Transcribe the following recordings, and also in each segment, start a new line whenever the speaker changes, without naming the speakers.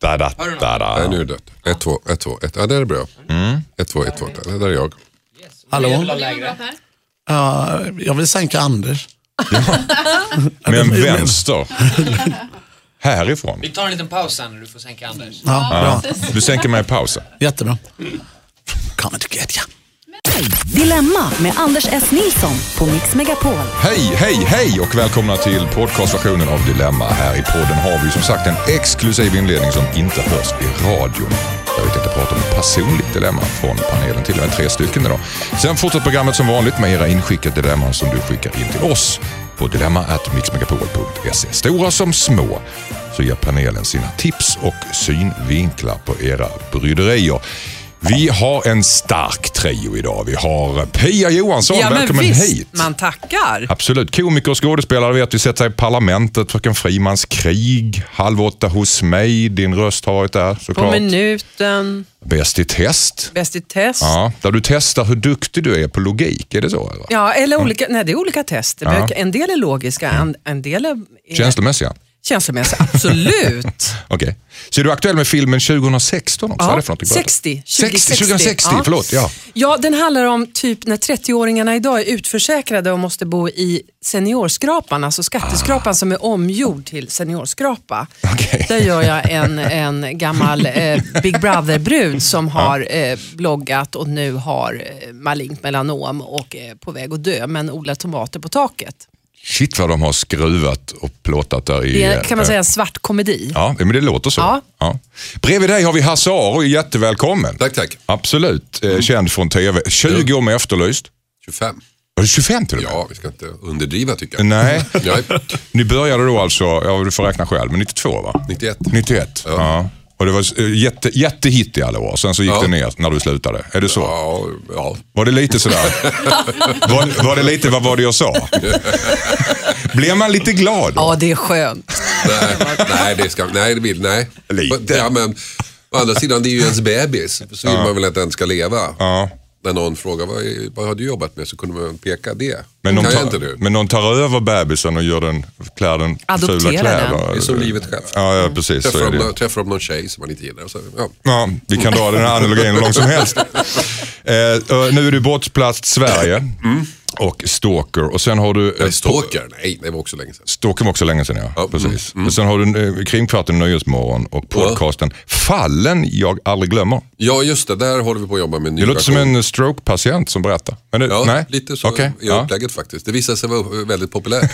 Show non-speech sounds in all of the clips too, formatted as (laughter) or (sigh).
Rattadattara.
Nej, nu är det dött. 1, 2, 1, 2, 1. Ja, det är bra.
Mm.
1, 2, 1, 2. Det där är jag.
Hallå?
Lägre.
Ja, jag vill sänka Anders.
Med en vänster. Härifrån.
Vi tar en liten paus sen när du får sänka Anders.
Ja, bra.
Du sänker mig i pausen.
Jättebra. Come together.
Dilemma med Anders S. Nilsson på Mix Megapol.
Hej, hej, hej och välkomna till podcastversionen av Dilemma. Här i podden har vi som sagt en exklusiv inledning som inte hörs i radion. Där vi tänkte prata om ett personligt dilemma från panelen, till och med tre stycken idag. Sen fortsätter programmet som vanligt med era inskickade dilemman som du skickar in till oss på dilemma.mixmegapol.se. Stora som små så ger panelen sina tips och synvinklar på era bryderier. Vi har en stark trio idag. Vi har Pia Johansson, välkommen hit.
man tackar.
Absolut. Komiker och skådespelare vet vi sätter sig i Parlamentet, Fröken Frimans krig, Halv åtta hos mig, Din röst har varit där
På
såklart.
minuten,
Bäst i test.
Bäst i test. Ja.
Ja, där du testar hur duktig du är på logik, är det så? Eller?
eller olika, nej det är olika test. Det
Ja.
brukar- En del är logiska, en, en del är är
Känslomässiga?
känslomässiga. Absolut.
Okej. Så är du aktuell med filmen 2016 också? Vad är det för något?
60.
60, 2060,
ja.
förlåt. Ja.
Ja, den handlar om typ när 30-åringarna idag är utförsäkrade och måste bo i seniorskrapan, alltså skatteskrapan som är omgjord till seniorskrapa.
Okej.
Där gör
(laughs)
jag en, en gammal eh, Big Brother-brud som har eh, bloggat och nu har eh, malignt melanom och är på väg att dö, men odlar tomater på taket.
Shit vad de har skruvat och plåtat där i...
Det är, kan man
eh,
säga, en svart komedi.
Ja, men det låter så. Ja.
Ja.
Bredvid dig har vi Hasse Aro, jättevälkommen.
Tack, tack.
Absolut,
Mm.
eh, känd från TV. 20 år med Efterlyst.
25.
Var det 25 till och med?
Ja, vi ska inte underdriva tycker jag. (laughs)
Nej.
Nej.
Ni började då alltså, ja du får räkna själv, men 92 va?
91.
91, ja. Och det var eh, jätte, jättehit i alla år, sen så gick
Ja.
det ner när du slutade. Är det så?
Ja, ja.
Var det lite sådär?
(laughs)
var, var det lite, vad var det jag sa? Blev man lite glad?
Ja, det är skönt.
Nej, nej, det ska, nej, det vill, nej.
Lite.
Ja, men, å andra sidan, det är ju ens bebis. Så vill man väl att den ska leva.
Ja.
När någon frågar, vad, är- vad har du jobbat med? Så kunde man peka det.
Men
kan
någon,
jag inte
tar,
nu.
men någon tar över bebisen och gör den, klär den
Adopterar
fula kläder.
den.
Det är som livet självt.
Ja, ja precis. Så
Träffar
är
de,
det.
träffar de någon tjej som man inte gillar. Så, ja.
Ja, vi kan dra den här analogin hur långt som helst. Eh, och nu är du brottsplats Sverige
Mm.
och stalker. Och sen har du... eh,
Nej, stalker? Nej, det var också länge sedan.
Stalker var också länge sedan ja.
Ja, mm.
Precis. Och sen har du eh, Krimkvarten och Nöjesmorgon och podcasten Fallen jag aldrig glömmer.
Ja, just det. Där håller vi på att jobba med en ny
Det låter som
version.
en eh, strokepatient som berättar. Men det,
Ja,
nej?
lite så
Okej,
i
ja.
upplägget faktiskt. Det visade sig vara
(laughs)
väldigt populärt.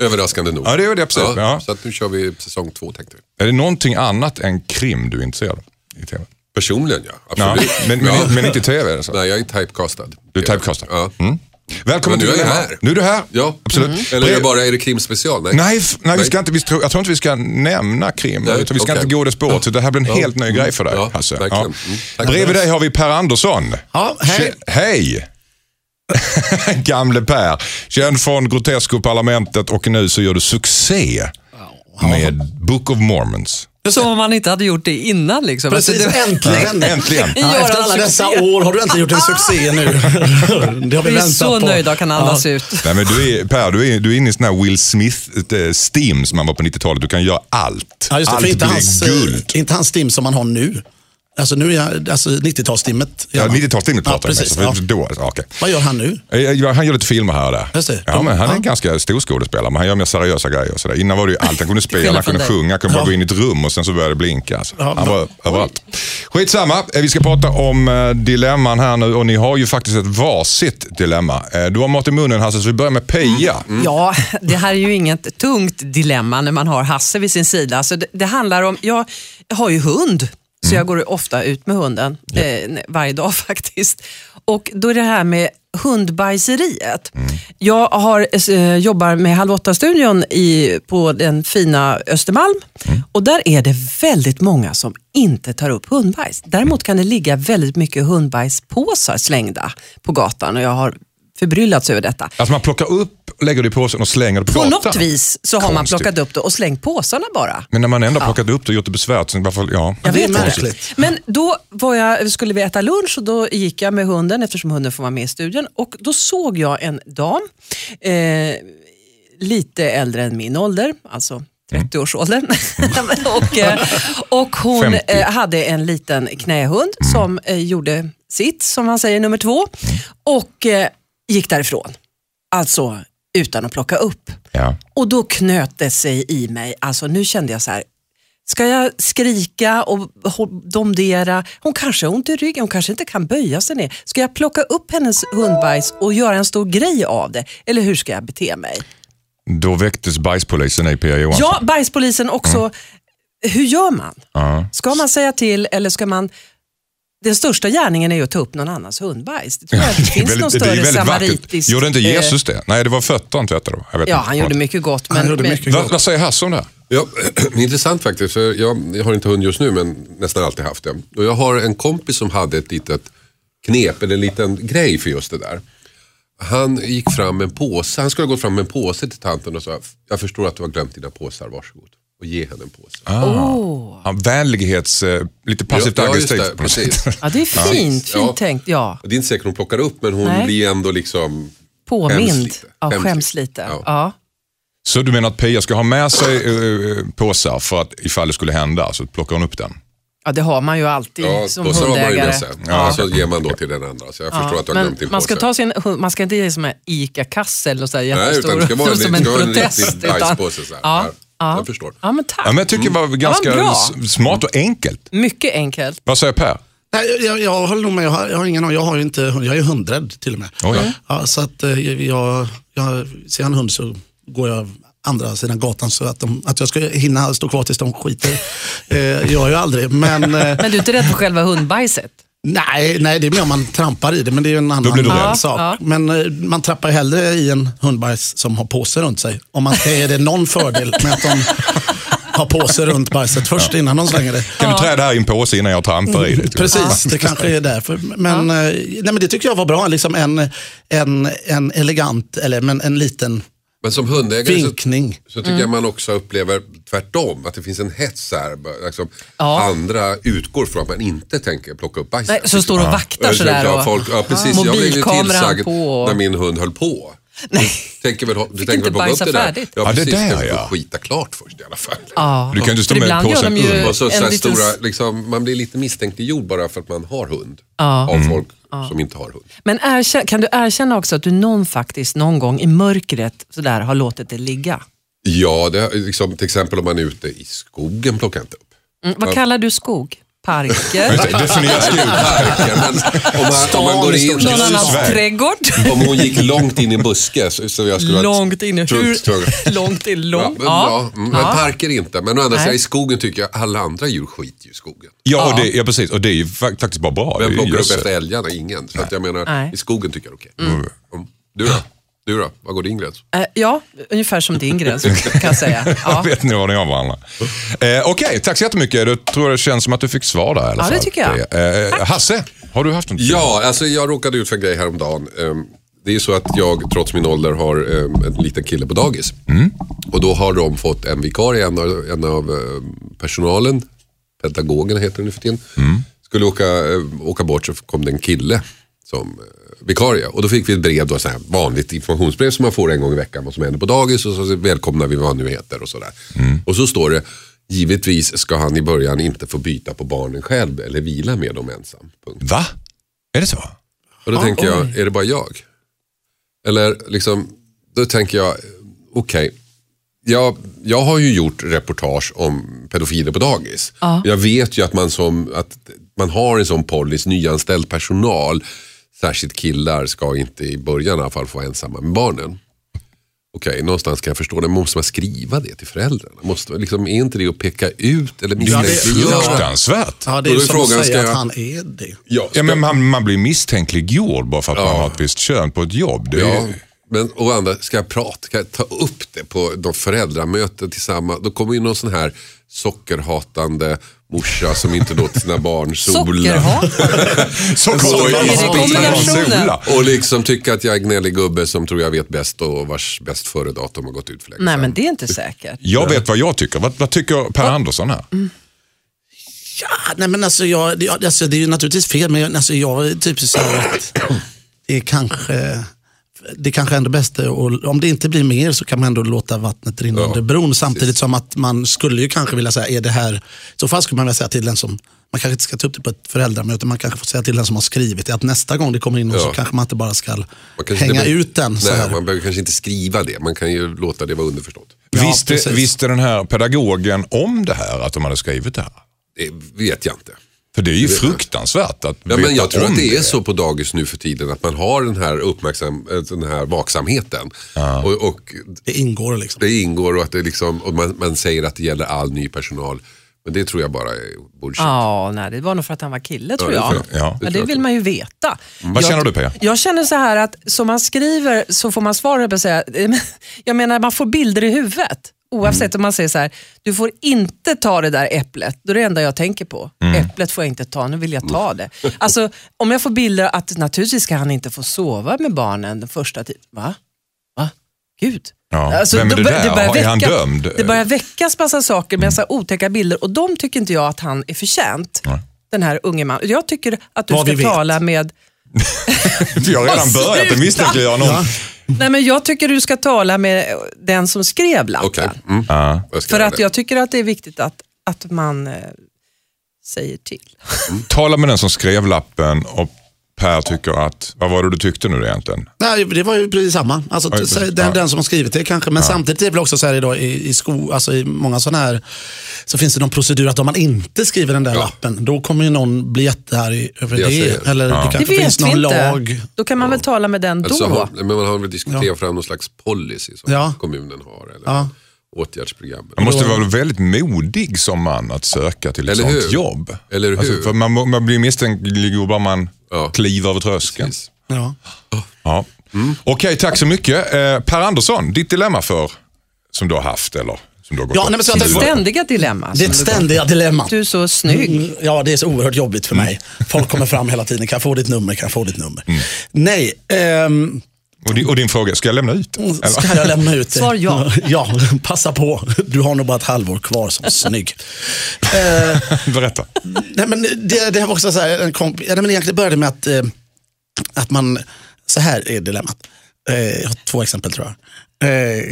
Överraskande nog.
Ja, det är det, precis. Ja.
Så att nu kör vi säsong två tänkte vi.
Är det någonting annat än krim du är intresserad av i TV?
Personligen ja,
Ja.
absolut.
Men, men,
ja.
men inte i TV är det så?
Nej, jag är typecastad.
Du är typecastad?
Ja.
Mm. Välkommen
Men
till
nu är jag
Dilemma.
här.
Nu är du här.
ja. Mm.
Absolut.
Eller är det
Brev-
bara är det krimspecial? Nej.
Nej, f- nej, vi ska inte, vi tror, jag tror inte vi ska nämna krim.
Nej,
utan vi ska
okej.
inte gå det spåret. Så det här blir en helt ny grej för dig,
Ja,
Hasse.
verkligen. Mm. Tack.
Bredvid dig har vi Per Andersson.
Ja, hej.
Kä- hej. (laughs) Gamle Per. Känd från Grotesco Parlamentet och nu så gör du succé med Book of Mormons.
Som om man inte hade gjort det innan. Liksom.
Precis,
Alltså, det-
äntligen.
Äntligen.
Ja,
Gör
efter
alla
alla dessa
succé.
år har du äntligen gjort en succé
(laughs)
nu. Det har vi,
Vi är
väntat
så
på.
nöjda och kan andas
Ja.
ut.
Nej, men du är, per, du är, du är inne i sån här Will Smith-steam som man var på 90-talet. Du kan göra allt.
Ja, just det,
allt
för inte
blir
hans, eh,
guld.
inte hans stim som man har nu. Alltså nu är jag, alltså 90-talsstimmet.
Ja, 90-talstimmet
Ja,
pratar jag
precis.
om.
Ja.
Alltså, för Då, ja, okej.
Vad gör han nu?
Eh, ja, Han gör lite filmer här och där.
Just det.
Ja, men han är
Ja.
en ganska stor skådespelare, men han gör mer seriösa grejer. Och sådär. Innan var det ju allt. Han kunde spela,
skillnad
han kunde
från dig.
sjunga, han kunde bara
Ja.
gå in i ett rum och sen så började det blinka. Alltså.
Ja,
han
men-
var överallt. Skitsamma, eh, vi ska prata om eh, dilemman här nu och ni har ju faktiskt ett varsitt dilemma. Eh, du har mat i munnen Hasse, så vi börjar med Peja.
Ja, det här är ju inget tungt dilemma när man har Hasse vid sin sida. Så det, det handlar om, jag har ju hund, så jag går ju ofta ut med hunden eh, varje dag (laughs) faktiskt. Och då är det här med hundbajseriet. Jag har, eh, jobbar med Halv åtta-studion i- på den fina Östermalm och där är det väldigt många som inte tar upp hundbajs. Däremot kan det ligga väldigt mycket hundbajspåsar slängda på gatan och jag har förbryllats över detta.
Alltså man plockar upp, lägger det i påsen och slänger det på
På
gatan.
något vis så har man
Konstigt.
plockat upp det och slängt påsarna bara.
Men när man ändå har plockat upp det och gjort det besvärt, så varför, ja.
Jag
det är
vet inte.
märkligt.
Men då var jag, skulle vi äta lunch och då gick jag med hunden eftersom hunden får vara med i studion. Och då
Mm.
såg jag en dam, eh, lite äldre än min ålder, alltså 30-årsåldern. (laughs) och, eh, och hon
50.
eh, hade en liten knähund
Mm.
som eh, gjorde sitt, som man säger, nummer två. Och eh, gick därifrån. Alltså utan att plocka upp.
Ja.
Och då knöt det sig i mig, alltså nu kände jag så här, ska jag skrika och hå- domdera? Hon kanske har ont i ryggen, hon kanske inte kan böja sig ner. Ska jag plocka upp hennes hundbajs och göra en stor grej av det? Eller hur ska jag bete mig?
Då väcktes bajspolisen i Pia Johansson.
Ja, bajspolisen också, hur gör man?
Mm. Ja.
Ska man säga till eller ska man den största gärningen är ju att ta upp någon annans hundbajs. Det tror jag inte
Det är
finns någon
väldigt- det är
större
väldigt vackert.
samaritisk...
Gjorde inte
eh,
Jesus det? Nej, det var fötter han tvättade då. Jag vet
Ja,
inte.
han gjorde mycket gott. Men,
Han gjorde
men,
mycket
Vad,
gott.
vad säger Hasse om det här?
Ja, (clears throat) intressant faktiskt. För jag, jag har inte hund just nu men nästan alltid haft det. Och jag har en kompis som hade ett litet knep eller en liten grej för just det där. Han gick fram med en påse. Han skulle ha gått fram med en påse till tanten och sa jag förstår att du har glömt dina påsar, varsågod. Och ge henne en påse.
Han vänlighets... eh, Lite passivt
Ja, ja, just
aggressivt
det,
på något
precis.
sätt. (laughs)
Ja, det är fint. Fint
Ja.
tänkt. Ja.
Det är inte säkert hon plockar upp men hon
Nej.
blir ändå liksom
Påmind.
Skäms lite.
Ja,
Skäms
skäms lite.
lite.
Ja.
Ja.
Så du menar att Pia ska ha med sig eh, påsar för att ifall det skulle hända så plockar hon upp den?
Ja, det har man ju alltid
Ja,
som
påsar har man ju
hundägare.
med sig. Ja. Så ger man då till den andra. Så jag
Ja,
förstår att du har
men
glömt din
man ska
påse.
ta sin hund, man ska inte ge som en ICA-kasse eller så här
Nej,
jättestor,
utan det ska vara en-
som
det
en
ska vara en
protest.
riktig bajspåse så här.
Ja,
Här.
ja.
Jag förstår.
Ja, men tack.
Ja, men jag tycker det var ganska
Mm. bra.
s- smart och enkelt.
Mycket enkelt.
Vad säger Per?
Nej, jag- jag, jag håller nog med, jag har, jag har ingen aning. Jag, har ju inte, hund. jag är hundrädd till och med.
Oj. Mm.
Ja, så att eh, jag, jag, ser jag en hund så går jag andra sidan gatan så att, de, att jag ska hinna stå kvar tills
(laughs)
de skiter. eh, jag är ju aldrig, men eh,
Men du är inte rädd för
(laughs)
själva hundbajset?
nej, nej, det är mer om man trampar i det, men det är ju en annan
blir du rädd.
sak.
Ja,
Men eh, man trampar ju hellre i en hundbajs som har påse runt sig. Om man ska ge det någon fördel med att de har påse runt bajset först innan de slänger det.
Kan du trä det här i en påse innan jag trampar
(laughs)
i det?
Precis, det kanske är därför. Men, eh, nej, men det tycker jag var bra. Liksom en, en, en elegant, eller men en liten
Men som hundägare så,
vinkning.
så tycker jag man också upplever tvärtom. Att det finns en hets här. bara, Liksom,
Ja.
Andra utgår från att man inte tänker plocka upp bajset.
Nej, som står och vaktar sådär
Ja,
och-
folk, ja, precis. Jag blev ju
Mobilkameran
tillsagd
på och-
när min hund höll på.
Nej.
Tänker väl, du
Fick
tänker
inte
väl plocka upp
bajsa
det där?
färdigt.
Ja, det
precis.
där,
Jag får
ja.
skita klart först i alla fall.
Ja.
Du kan ju inte stå
För
med
ibland gör
påsen
de ju-
under.
Och så,
En
så här
liten-
stora, liksom, man blir lite misstänkliggjord bara för att man har hund.
Ja.
Av
Mm.
folk som inte har hund.
Men erkän, kan du erkänna också att du någon faktiskt någon gång i mörkret sådär, har låtit det ligga?
Ja, det, liksom, till exempel om man är ute i skogen plockar jag inte upp.
Mm, vad kallar du skog?
(laughs)
Parker?
Just det, Definiera skog.
Parker, men om man, om man går
i
in,
stort
Någon annans
Grusväg.
trädgård?
om hon gick långt in i en buske så, så jag skulle ha ett
Långt in,
tungt tugg.
hur (laughs) långt in?
Ja,
Långt?
men, bra. Mm, men parker inte. Men å andra
Nej.
sidan i skogen tycker jag alla andra djur skiter ju i skogen.
Ja, och det, ja, precis. Och det är ju fak- faktiskt bara bra. Det är
Vem
ju
plockar upp
gödsel.
efter älgarna? Ingen. Så att jag menar,
Nej.
i skogen tycker jag det är okej. Mm. Du då? Du då? Vad går din gräns?
Eh, ja, ungefär som din gräns kan
(laughs)
jag säga.
Ja.
Ja.
(laughs) vet ni vad ni har varandra. Eh, Okej, tack så jättemycket. Det tror jag känns som att du fick svar där i alla
Ja,
fall.
det tycker jag.
Det. Eh, Hasse, har du haft en
Ja, alltså jag råkade ut för en grej häromdagen. Ehm, Det är ju så att jag trots min ålder har ehm, en liten kille på dagis. Och då har de fått en vikarie, en av, en av ehm, personalen, pedagogen heter det nu för tiden, skulle åka, ehm, åka bort så kom det en kille som eh, vikarie. Och då fick vi ett brev, då, så här vanligt informationsbrev som man får en gång i veckan vad som händer på dagis och så välkomnar vi vad han nu heter och sådär. Och så står det, givetvis ska han i början inte få byta på barnen själv eller vila med dem ensam. Punkt.
Va? Är det så?
Och då tänker jag, är det bara jag? Eller liksom, då tänker jag, okej. Jag, jag har ju gjort reportage om pedofiler på dagis. Jag vet ju att man, som, att man har en sån policy, nyanställd personal, särskilt killar ska inte i början i alla fall få vara ensamma med barnen. Okej, någonstans kan jag förstå det, men måste man skriva det till föräldrarna? Måste, man- liksom, är inte det att peka ut eller
Det är
det-
misstänkliggöra?
fruktansvärt.
Ja, det
Och
är
då
ju
är
som att
frågan,
säga
ska
att
jag-
han är det.
Ja,
Ja, men man, man blir misstänkliggjord bara för att man har ett visst kön på ett jobb. Det är,
Ja, men å andra, ska jag prata, kan jag ta upp det på de föräldramöten tillsammans? Då kommer ju någon sån här sockerhatande morsa som inte låter sina barn sola.
Sockerhat?
(laughs) Så
Så-
kommer
Är det
kombinationen?
Och liksom tycker att jag är gnällig gubbe som tror jag vet bäst och vars bäst före datum har gått ut för länge
Nej,
sedan.
men det är inte säkert.
Jag vet vad jag tycker. Vad, vad tycker Per Andersson här?
Mm.
Ja, nej, men alltså, jag, det, ja, alltså, det är ju naturligtvis fel, men jag, alltså, jag är typ så här att det är kanske det kanske är det bästa. Och om det inte blir mer så kan man ändå låta vattnet rinna
Ja,
under bron. Samtidigt som att man skulle ju kanske vilja säga, är det här... I så fall skulle man vilja säga till den som, man kanske inte ska ta upp det på ett föräldramöte, man kanske får säga till den som har skrivit det att nästa gång det kommer in någon
Ja.
så kanske man inte bara ska
Man kanske
hänga
inte be-
ut den. Så
Nej,
här.
man behöver kanske inte skriva det. Man kan ju låta det vara underförstått.
Ja,
visste,
precis.
visste den här pedagogen om det här, att de hade skrivit det här?
Det vet jag inte.
För det är ju
vet jag.
fruktansvärt att
Ja, men jag tror
om
att det
(laughs)
är så på dagis nu för tiden att man har den här, uppmärksam, eh, den här vaksamheten. Och, och
Det ingår liksom.
det ingår och, att det liksom, och man, man säger att det gäller all ny personal. Men det tror jag bara är bullshit.
Ja, nej, det var nog för att han var kille tror
Ja, det
jag.
tror jag. Ja, det
Men
tror
det
jag
vill
också.
man ju veta.
Vad
jag,
känner du, Pia?
Jag känner så här att som man skriver så får man svar, höll jag på att säga. (laughs) Jag menar man får bilder i huvudet. Oavsett om man säger så här, du får inte ta det där äpplet. Då är det enda jag tänker på. Äpplet får jag inte ta, nu vill jag ta det. Alltså om jag får bilder att naturligtvis ska han inte få sova med barnen den första tiden. Va? Va? Gud. Alltså,
Ja, vem är det
bör-
där?
börjar
Är han dömd?
Det börjar väckas massa saker med så här otäcka bilder och de tycker inte jag att han är förtjänt. Den här unge mannen. Jag tycker att du
Vad vi
ska
vet.
tala med...
Vi har redan
Sluta!
börjat att misstänkliggöra någon.
Nej men jag tycker du ska tala med den som skrev lappen.
Okej, mm.
Ja.
jag ska
För
göra
att
det.
jag tycker att det är viktigt att, att man eh, säger till.
Tala med den som skrev lappen och Per tycker att, vad var det du tyckte nu egentligen?
Nej, det var ju precis samma. Alltså,
Ja, precis.
den,
Ja.
den som har skrivit det kanske. Men samtidigt är det väl också så här idag i, i, sko, alltså, i många sådana här, så finns det någon procedur att om man inte skriver den där
Ja.
lappen, då kommer ju någon bli jättearg över
Det jag
det.
säger.
Eller det
Det
kanske
vet
finns
vi
någon
inte.
lag.
Då kan man väl tala med den då.
Alltså, har, men man har väl diskuterat
Ja.
fram någon slags policy som
Ja.
kommunen har. Eller
Ja.
åtgärdsprogram.
Man måste vara väldigt modig som man att söka till ett
Eller
sånt
hur?
jobb. Alltså,
Eller hur?
för man, må- man blir misstänkliggjord bara man
Ja.
kliver över tröskeln.
Precis. Mm.
Ja.
Ja. Okej, tack så mycket. Eh, per Andersson, ditt dilemma för, som du har haft eller? Som du har gått
Ja, nej, men så
som
att-
du var-
Ständiga dilemma.
Det är ett
som du går-
ständiga dilemma.
Du är så snygg.
Mm, Ja, det är så oerhört jobbigt för mig. Folk kommer fram hela tiden, kan jag få ditt nummer, kan jag få ditt nummer. Nej, ehm,
och, din, och din fråga, ska jag lämna ut den? Eller?
Ska jag lämna ut det?
Svar ja.
(laughs) ja, passa på. Du har nog bara ett halvår kvar som snygg. Eh,
Berätta.
nej, men det, det här var också så här, en komp- ja, nej, men egentligen började det med att, eh, att man, så här är dilemmat. Eh, jag har två exempel tror jag. Eh,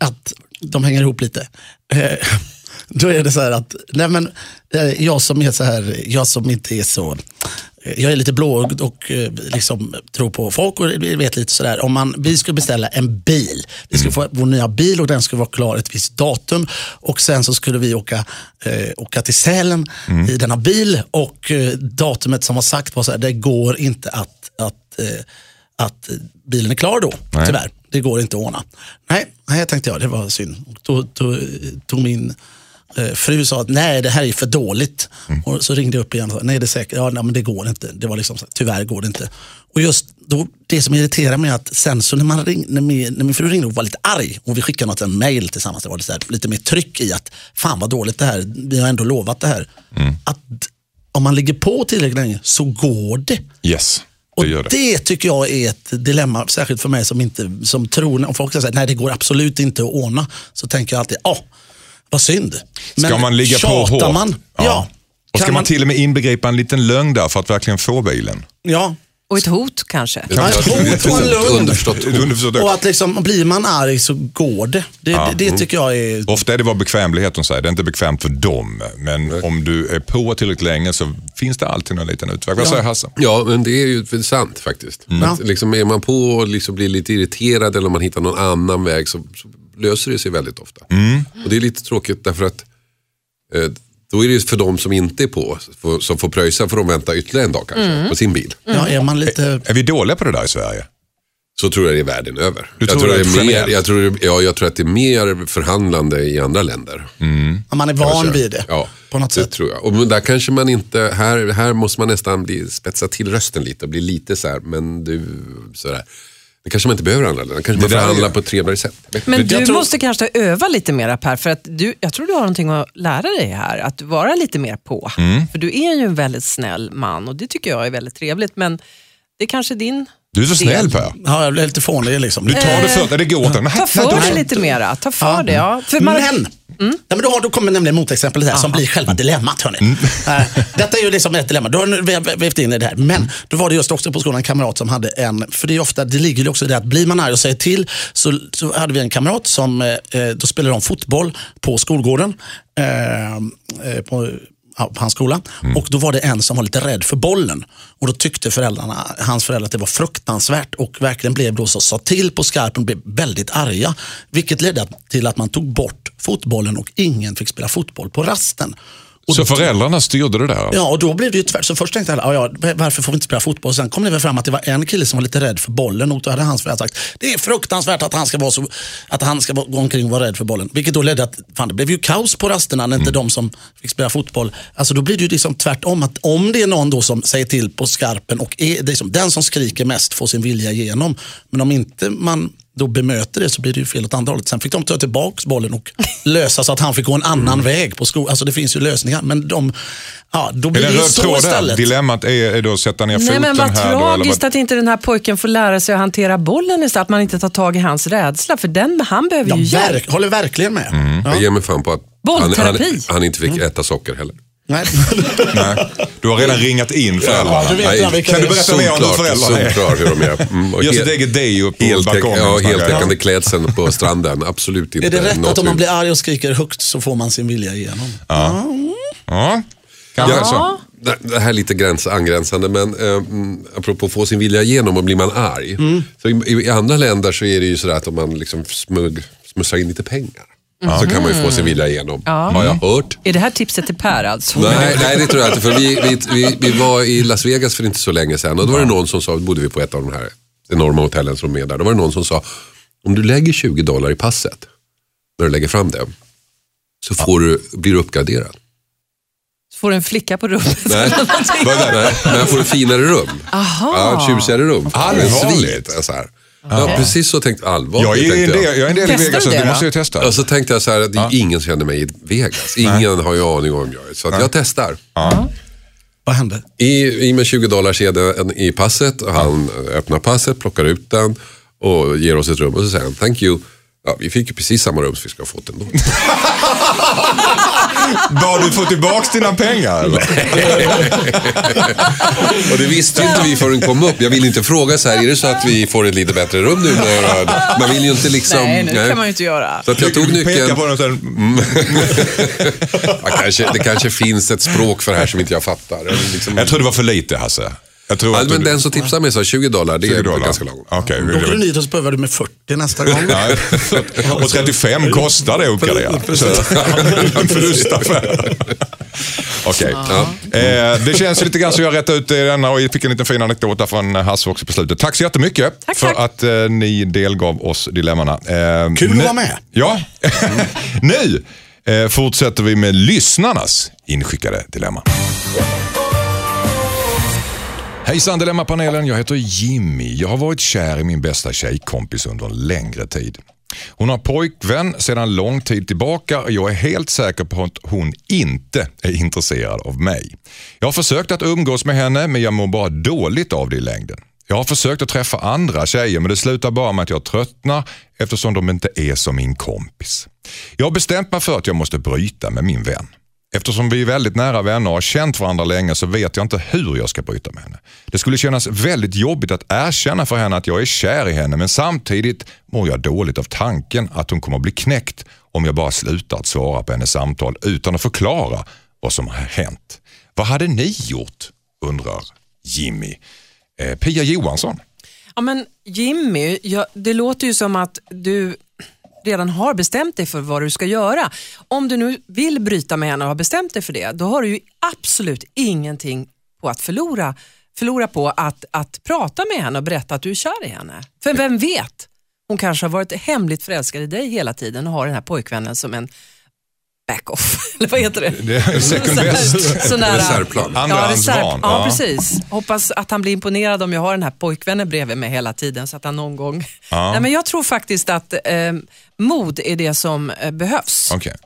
att de hänger ihop lite. Eh, (laughs) då är det så här att, nej men, eh, jag som är så här, jag som inte är så, eh, jag är lite blåögd och eh, liksom tror på folk och vet lite sådär. Om man, vi skulle beställa en bil, vi skulle få vår nya bil och den skulle vara klar ett visst datum och sen så skulle vi åka, eh, åka till Sälen i denna bil och eh, datumet som var sagt var så här, det går inte att, att eh, att bilen är klar då, tyvärr. Det går inte att ordna. Nej, nej tänkte jag, det var synd. Och då, då eh, tog min eh, fru sa att nej, det här är för dåligt. Och så ringde jag upp igen och sa, nej det är säkert, ja, nej, men det går inte. Det var liksom, så här, tyvärr går det inte. Och just då, det som irriterar mig är att sen så när, man ring, när, min, när min fru ringde och var lite arg och vi skickade något, en mail tillsammans, det var lite, så här, lite mer tryck i att fan vad dåligt det här, vi har ändå lovat det här. Att om man ligger på tillräckligt länge så går det.
Yes,
Och
det gör
det.
det.
tycker jag är ett dilemma, särskilt för mig som, inte, som tror, om folk säger att nej det går absolut inte att ordna, så tänker jag alltid, ja, vad synd. Men
Ska man ligga på
tjatar
hårt?
man, ja.
Och ska
Kan
man till och med inbegripa en liten lögn där för att verkligen få bilen?
Ja.
Och ett hot kanske.
Ja,
Jag tror
hot
det är
och en
ett
lugn.
Underförstått hot.
Underförstått.
Och att liksom, blir man arg så går det. Det, det, det tycker jag är...
Ofta är det bara bekvämlighet de säger, det är inte bekvämt för dem. Men om du är på tillräckligt länge så finns det alltid en liten utväg. Vad säger Hasse?
Ja, men det är ju sant faktiskt. Att,
Ja.
liksom, är man på och liksom blir lite irriterad eller om man hittar någon annan väg så, så löser det sig väldigt ofta. Och Det är lite tråkigt därför att eh, då är det ju för de som inte är på, för, som får pröjsa för de vänta ytterligare en dag kanske på sin bil.
Ja, är man lite...
Är vi dåliga på det där i Sverige?
Så tror jag det är världen över.
Du
Jag tror,
tror det
det är mer,
generellt?
jag, tror, det- ja, jag tror att det är mer förhandlande i andra länder.
Om man är van vid det.
Ja,
På något
det
sätt.
tror jag. Och men där kanske man inte, här, här måste man nästan bli, spetsa till rösten lite och bli lite så här, men du, sådär. Det kanske man inte behöver andra länder, kanske man
där är-
förhandlar på ett trevligare sätt. Jag vet inte.
Men
Jag
du
tror-
måste kanske öva lite mer Per, för att du, jag tror du har någonting att lära dig här. Att vara lite mer på. För du är ju en väldigt snäll man och det tycker jag är väldigt trevligt. Men det är kanske din
Du är så snäll Per.
Ja, jag blev lite fånig liksom.
Du tar det för dig, det går åt den.
Ta för dig
då-
lite mera. Ta för
Ja.
dig. Ja. För man, Mm.
Men, nej, men då, har, då kommer nämligen motexemplet här som blir själva dilemmat. Hörni. Eh, detta är ju liksom ett dilemma. Då har vi vi- vävt in i det här. Men då var det just också på skolan en kamrat som hade en, för det är ju ofta, det ligger ju också i det att blir man arg och säger till så, så hade vi en kamrat som, eh, eh, då spelade de fotboll på skolgården. Eh, eh, på, ja, på hans skola. Och då var det en som var lite rädd för bollen. Och då tyckte föräldrarna, hans föräldrar att det var fruktansvärt och verkligen blev då så sa till på skarpen och blev väldigt arga. Vilket ledde till att man tog bort fotbollen och ingen fick spela fotboll på rasten. Och
Så
då-
föräldrarna styrde det där? alltså?
Ja, och då blev det ju tvärt. Så först tänkte alla, "Ja, ja, varför får vi inte spela fotboll? Sen kom det väl fram att det var en kille som var lite rädd för bollen och då hade hans föräldrar sagt, det är fruktansvärt att han ska, vara så, att han ska vara- gå omkring och vara rädd för bollen. Vilket då ledde att, fan det blev ju kaos på rasterna när inte de som fick spela fotboll, alltså då blir det ju liksom tvärtom. Att om det är någon då som säger till på skarpen och är, det är som, den som skriker mest får sin vilja igenom. Men om inte man då bemöter det så blir det ju fel åt andra hållet. Sen fick de ta tillbaka bollen och lösa så att han fick gå en annan väg på skolan. Alltså det finns ju lösningar men de, ja, då
Är
blir
det
det
en
ju
röd
så
tråd där?
istället.
Dilemmat är, är då att sätta ner
nej,
foten
men vad
här då? eller
tragiskt
vad-
att inte den här pojken får lära sig att hantera bollen istället. Att man inte tar tag i hans rädsla. För den, han behöver ju
Jag
hjälp.
verk, håller verkligen med.
Mm.
Jag ger mig fan på att han, han,
Bollterapi.
han inte fick äta socker heller.
Nej.
(laughs) Nej, du har redan ringat in föräldrarna.
Ja, du vet redan vilka
kan du
det är.
berätta mer om hur föräldrarna är?
Solklar hur de är. Mm, och
Gör sitt
hel-
eget deo på
heltäck-
balkongen.
ja,
snackar jag.
heltäckande klädseln på stranden. Absolut inte.
(laughs) är det rätt att
något
om man
vi-
blir arg och skriker högt så får man sin vilja igenom?
Ja, kanske
Ja.
så.
Det- Det här är lite gräns, angränsande men eh, mm, apropå få sin vilja igenom och blir man arg. Så i, I andra länder så är det ju sådär att om man liksom smug, smussar in lite pengar så kan man ju få sin vilja igenom. Har jag hört.
Är det här tipset till Per alltså?
Nej, nej, det tror jag inte. För vi, vi, vi, vi var i Las Vegas för inte så länge sedan och då var det någon som sa, bodde vi på ett av de här enorma hotellen som är där. Då var det någon som sa, om du lägger 20 dollar i passet när du lägger fram det så får du, blir du uppgraderad.
Så får du en flicka på rummet.
Nej, (laughs) vad är det? Nej, men jag får ett finare rum. Ja, tjusigare rum.
Allvarligt?
En svit, Så här. Ja, precis så tänkte allvarligt.
Jag är en
tänkte jag. Alltså-
del, jag är en del i
Testar
Vegas,
du
så
det
det
då?
måste jag testa.
Och så tänkte jag så här, det är ingen som känner mig i Vegas. Ingen har ju aning om vem jag är. Så att jag testar.
Vad hände?
I, i med 20 dollar sedeln i passet. Och han öppnar passet, plockar ut den och ger oss ett rum. Och så säger han, thank you. Ja, vi fick ju precis samma rum som vi ska ha fått ändå.
Bör du få tillbaka dina pengar eller?
Och det visste ju inte vi förrän kom upp. Jag vill inte fråga så här, är det så att vi får ett lite bättre rum
(laughs)
nu? När jag, man vill ju inte liksom...
(laughs) nej, det kan man ju inte göra.
Så att jag tog
Du pekar
nyckeln.
på den och säger,
Ja, kanske, det kanske finns ett språk för det här som inte jag fattar. Eller Liksom,
jag tror det var för lite Hasse. Jag tror
ja,
att
men
du-
den som tipsar mig sa 20 dollar, det
20
är
dollar.
ganska lagom.
Okej.
Då Mm. åker du dit och så behöver du med 40 nästa gång.
(laughs)
(laughs)
Nej. Och 35 kostar det att
Mm,
uppgradera. Så, (laughs) En förlustaffär. (laughs) Okej. Eh, det känns ju lite grann som jag rättade ut det i denna och jag fick en liten fin anekdot där från Hasse också på slutet. Tack så jättemycket
Tack,
för
tack.
att eh, ni delgav oss dilemmana. Eh,
Kul att
nu-
vara med.
Ja. (laughs) nu eh, fortsätter vi med lyssnarnas inskickade dilemma. Hejsan Dilemmapanelen, jag heter Jimmy. Jag har varit kär i min bästa tjejkompis under en längre tid. Hon har pojkvän sedan lång tid tillbaka och jag är helt säker på att hon inte är intresserad av mig. Jag har försökt att umgås med henne men jag mår bara dåligt av det i längden. Jag har försökt att träffa andra tjejer men det slutar bara med att jag tröttnar eftersom de inte är som min kompis. Jag har bestämt mig för att jag måste bryta med min vän. Eftersom vi är väldigt nära vänner och har känt varandra länge så vet jag inte hur jag ska bryta med henne. Det skulle kännas väldigt jobbigt att erkänna för henne att jag är kär i henne men samtidigt mår jag dåligt av tanken att hon kommer att bli knäckt om jag bara slutar att svara på hennes samtal utan att förklara vad som har hänt. Vad hade ni gjort? undrar Jimmy. Eh, Pia Johansson.
Ja, men Jimmy, ja, det låter ju som att du redan har bestämt dig för vad du ska göra. Om du nu vill bryta med henne och har bestämt dig för det, då har du ju absolut ingenting på att förlora, förlora på att, att prata med henne och berätta att du är kär i henne. För vem vet, hon kanske har varit hemligt förälskad i dig hela tiden och har den här pojkvännen som en back-off, (laughs) eller vad heter det?
Det (laughs) är second
Så här-
best.
så nära-
Reservplan.
Ja,
Andrahandsbarn.
reserv. Ja, precis. Hoppas att han blir imponerad om jag har den här pojkvännen bredvid mig hela tiden så att han någon gång...
Ja.
(laughs) ehm, Nej, men jag tror faktiskt att eh, mod är det som eh, behövs.
Okej.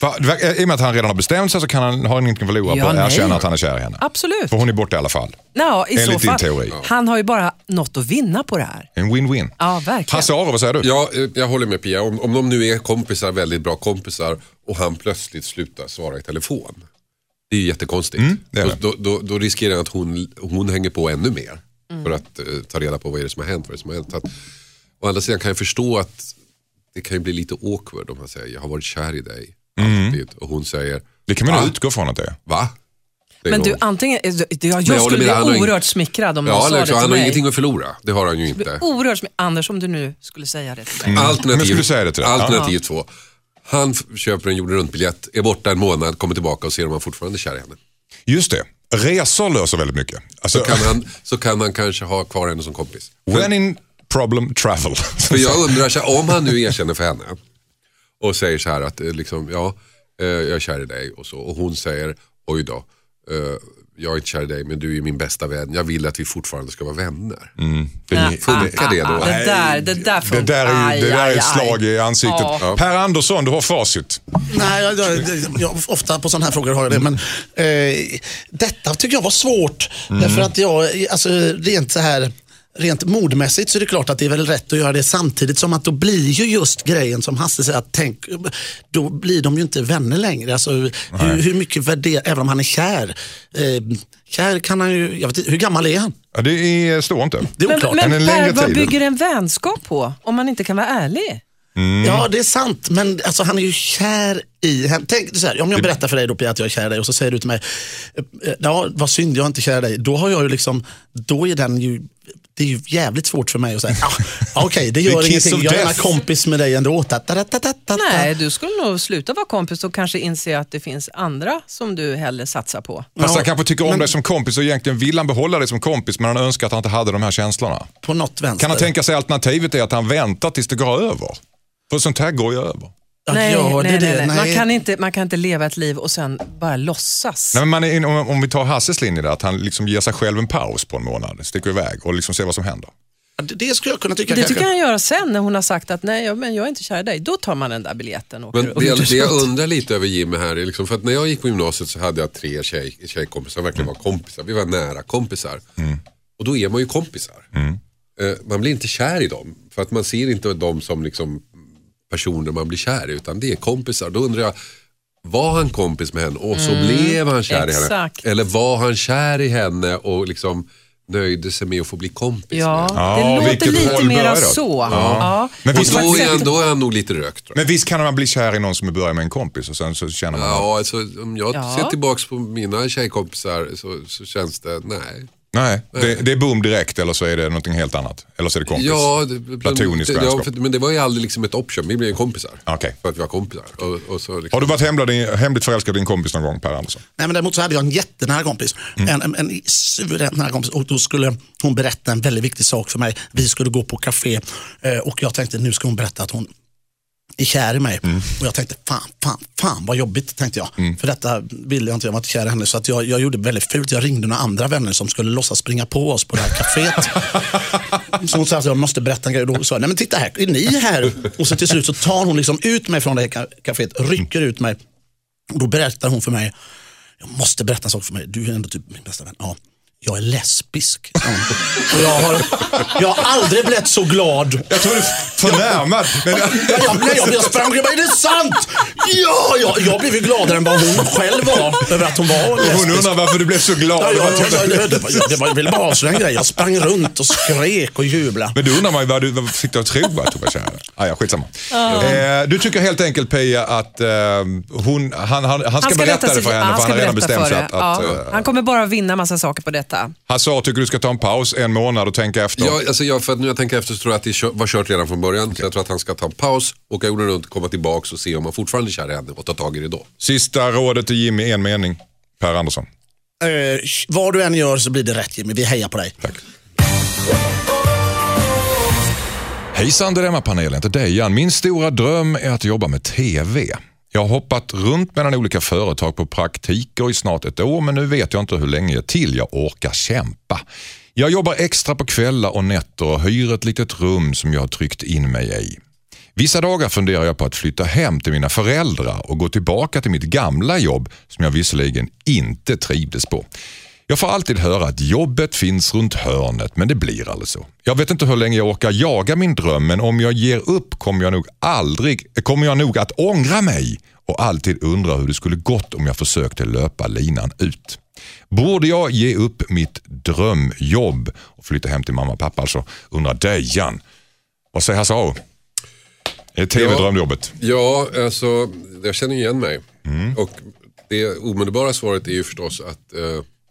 För, det verkar- I och med att han redan har bestämt sig så kan han, har han ingenting att förlora
Ja,
på att
nej.
erkänna att han är kär i henne.
Absolut.
För hon är borta i alla fall.
Ja, i
Enligt
så
din
fall.
teori.
Han har ju bara något att vinna på det här.
En win-win.
Ja, verkligen.
Hasse Aro, vad säger du?
Ja, eh, jag håller med Pia. Om, om de nu är kompisar, väldigt bra kompisar och han plötsligt slutar svara i telefon. Det är ju jättekonstigt.
Mm, det är det.
Då, då, då riskerar han att hon, hon hänger på ännu mer.
Mm.
För att eh, ta reda på vad är det som har hänt. Vad är det som har hänt. Så Att, å andra sidan kan jag förstå att det kan ju bli lite awkward om han säger jag har varit kär i dig.
Mm.
alltid." Och hon säger
Det kan man ju
"Va?
utgå från att det är.
Va? Det är
Men du,
hon.
antingen, jag,
jag
jag
håller
skulle bli
med, han har ingen-
oerhört smickrad om
ja,
någon Mm. sa
eller,
det
så
till
han har
mig.
ingenting att förlorra. Det har han ju inte.
Oerhört smick... Anders, om du nu skulle säga det till mig.
Men jag
Alternativ,
skulle säga det till dig.
alternativ två. Han f- köper en jorden runt-biljett, är borta en månad, kommer tillbaka och ser om han fortfarande är kär i henne.
Just det, resor löser väldigt mycket. Alltså,
Kan han, så kan han kanske ha kvar henne som kompis.
when in problem, travel. (laughs)
För jag undrar, så här, om han nu erkänner för henne och säger så här att eh, liksom, ja, eh, jag är kär i dig och så. Och hon säger, oj då, eh, jag är inte kär i dig men du är min bästa vän. Jag vill att vi fortfarande ska vara vänner.
Mm. Det-
Funkar det då?
Det där, det där
Det
funkar.
där är, ju, det där är ett slag i ansiktet.
Ja.
Per Andersson, du har facit.
Nej, jag, jag, jag, ofta på sådana här frågor har jag det. Men, eh, detta tycker jag var svårt. Därför att jag, alltså, rent så här Rent modmässigt så är det klart att det är väl rätt att göra det samtidigt som att då blir ju just grejen som Hasse säger, att tänk, då blir de ju inte vänner längre. Alltså, hur, hur mycket värderar, även om han är kär. Eh, kär kan han ju, jag vet inte, hur gammal är han?
Ja, det är, står inte.
Det är
Men,
oklart.
Men
men
en
Per,
längre
vad
tid.
bygger en vänskap på om man inte kan vara ärlig?
Mm.
Ja, det är sant. Men alltså, han är ju kär i henne. Tänk så här, om jag berättar för dig då, Pia, att jag är kär i dig och så säger du till mig, eh, ja, vad synd, jag är inte kär i dig. Då har jag ju liksom, då är den ju, det är ju jävligt svårt för mig att säga, ah,
(laughs)
okej, det
Det är
gör
kiss
ingenting,
of
jag är gärna
death.
kompis med dig ändå. Ta, ta, ta, ta, ta, ta.
Nej, du skulle nog sluta vara kompis och kanske inse att det finns andra som du hellre satsar på.
Fast han
Ja,
kanske tycker om
men-
dig som kompis och egentligen vill han behålla dig som kompis men han önskar att han inte hade de här känslorna.
På något vänster.
Kan han tänka sig alternativet är att han väntar tills det går över? För sånt här går ju över.
Ja, ja, det är det.
Man,
Nej.
kan inte, man kan inte leva ett liv och sen bara låtsas.
Nej, men man är, om, om vi tar Hasses linje där, att han liksom ger sig själv en paus på en månad, sticker iväg och liksom ser vad som händer.
Det- Det skulle jag kunna tycka
det
kanske.
tycker han göra sen när hon har sagt att nej, ja, men jag är inte kär i dig. Då tar man den där biljetten och åker
Men
upp.
det, jag- det jag undrar lite över Jimmy här, är liksom, för att när jag gick på gymnasiet så hade jag tre tjej, tjejkompisar,
Mm.
verkligen var kompisar. Vi var nära kompisar. Och då är man ju kompisar.
Mm.
Eh, Man blir inte kär i dem, för att man ser inte dem som liksom personer man blir kär i, utan det är kompisar. Då undrar jag, var han kompis med henne och så blev han kär i henne?
Mm, exakt.
Eller var han kär i henne och liksom nöjde sig med att få bli kompis med
Ja,
henne?
Ja,
det låter
vilket
lite
håll
mera
bör det?
så. Ja.
Men
Och
visst,
då är, han, då är han nog lite rökt. tror jag.
men visst kan man bli kär i någon som är börjar med en kompis och sen så känner man,
Ja, alltså, om jag
Ja.
ser tillbaka på mina tjejkompisar så, så känns det, nej.
nej, det,
Eh.
det är boom direkt eller så är det någonting helt annat. Eller så är det kompis.
Ja, det,
Platonisk
det, ja,
vänskap.
för, men det var ju aldrig liksom ett option, vi blev ju kompisar.
Okej.
För att vi var kompisar. Och, och så liksom,
Har du varit hemlig, hemligt förälskad i en kompis någon gång Per Andersson?
Nej, men däremot så hade jag en jättenära kompis. En, en, en suveränt nära kompis. Och då skulle hon berätta en väldigt viktig sak för mig. Vi skulle gå på café eh, och jag tänkte nu ska hon berätta att hon är kär i mig. Och jag tänkte fan, fan, fan vad jobbigt tänkte jag. För detta ville jag inte, jag var inte kär i henne. Så att jag, jag gjorde väldigt fult. Jag ringde några andra vänner som skulle låtsas springa på oss på det här caféet. Så hon sa att jag måste berätta en grej. Och Då sa jag, nej men titta här, är ni här? Och så till slut så tar hon liksom ut mig från det här ka- kaféet, rycker ut mig. Och då berättar hon för mig, jag måste berätta en sak för mig, du är ändå typ min bästa vän. Ja. Jag är lesbisk. sa hon. Och jag, har, jag har aldrig blivit så glad.
Jag tror du förnärmad. Men,
Jag, jag, nej, jag, jag sprang omkring och bara, är det sant? Ja, jag, jag blev ju gladare än vad hon själv var över att hon var lesbisk.
hon undrar varför du blev så glad.
Ja,
Det var
jag,
typ-
jag, jag, det var- det var- jag ville bara avslöja en grej. Jag sprang runt och skrek och jublade.
Men då undrar man ju vad du vad fick dig att tro att hon var kär. (laughs) Ah, ja, skitsamma. Eh, du tycker helt enkelt Peja att eh, hon, han, han, han, ska berätta
rätta
det
sig-
för henne
ja,
för han
ska
har redan
berätta
bestämt
för
sig
det.
att... att
Ja.
eh,
Han kommer bara vinna massa saker på detta.
han sa tycker du ska ta en paus en månad och tänka efter.
Ja, alltså jag, för att nu jag tänker efter så tror jag att det kö- var kört redan från början. Så jag tror att han ska ta en paus, åka jorden runt, komma tillbaka och se om han fortfarande är kär i henne och ta tag i det då.
Sista rådet till Jimmy, en mening. Per Andersson.
Eh, vad du än gör så blir det rätt Jimmy. Vi hejar på dig.
Hejsan Dilemmapanelen, till dig Jan. Min stora dröm är att jobba med TV. Jag har hoppat runt mellan olika företag på praktiker i snart ett år men nu vet jag inte hur länge till jag orkar kämpa. Jag jobbar extra på kvällar och nätter och hyr ett litet rum som jag har tryckt in mig i. Vissa dagar funderar jag på att flytta hem till mina föräldrar och gå tillbaka till mitt gamla jobb som jag visserligen inte trivdes på. Jag får alltid höra att jobbet finns runt hörnet, men det blir aldrig så. Jag vet inte hur länge jag orkar jaga min dröm, men om jag ger upp kommer jag nog, aldrig, kommer jag nog att ångra mig och alltid undra hur det skulle gått om jag försökte löpa linan ut. Borde jag ge upp mitt drömjobb och flytta hem till mamma och pappa alltså, undrar Dejan. Vad säger Hasse Aro? Är tv-drömjobbet?
Ja, alltså jag känner igen mig. Och det omedelbara svaret är ju förstås att eh,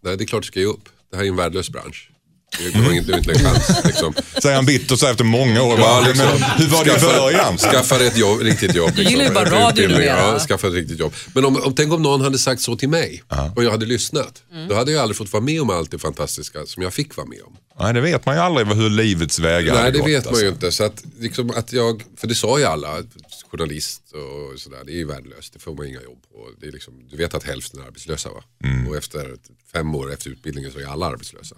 nej, det är klart du ska ge upp. Det här är en värdelös bransch. Det det var inte, det var inte en (laughs) chans. Liksom.
Säger han bittert så här efter många år. Bara, men, hur var det i
Skaffa-
början?
Skaffa ett jobb, riktigt jobb.
gillar ju bara
En
radio
utbildning,
numera.
ja, skaffa ett riktigt jobb. Men om, om, tänk om någon hade sagt så till mig och jag hade lyssnat.
Mm.
Då hade jag aldrig fått vara med om allt det fantastiska som jag fick vara med om.
Nej, det vet man ju aldrig hur livets vägar
Nej,
hade
det
gått,
vet man
alltså.
ju inte. Så att, liksom, att jag, för det sa ju alla, journalist och sådär, det är ju värdelöst, det får man inga jobb på. Det är liksom, du vet att hälften är arbetslösa va?
Mm.
Och efter fem år efter utbildningen så är alla arbetslösa.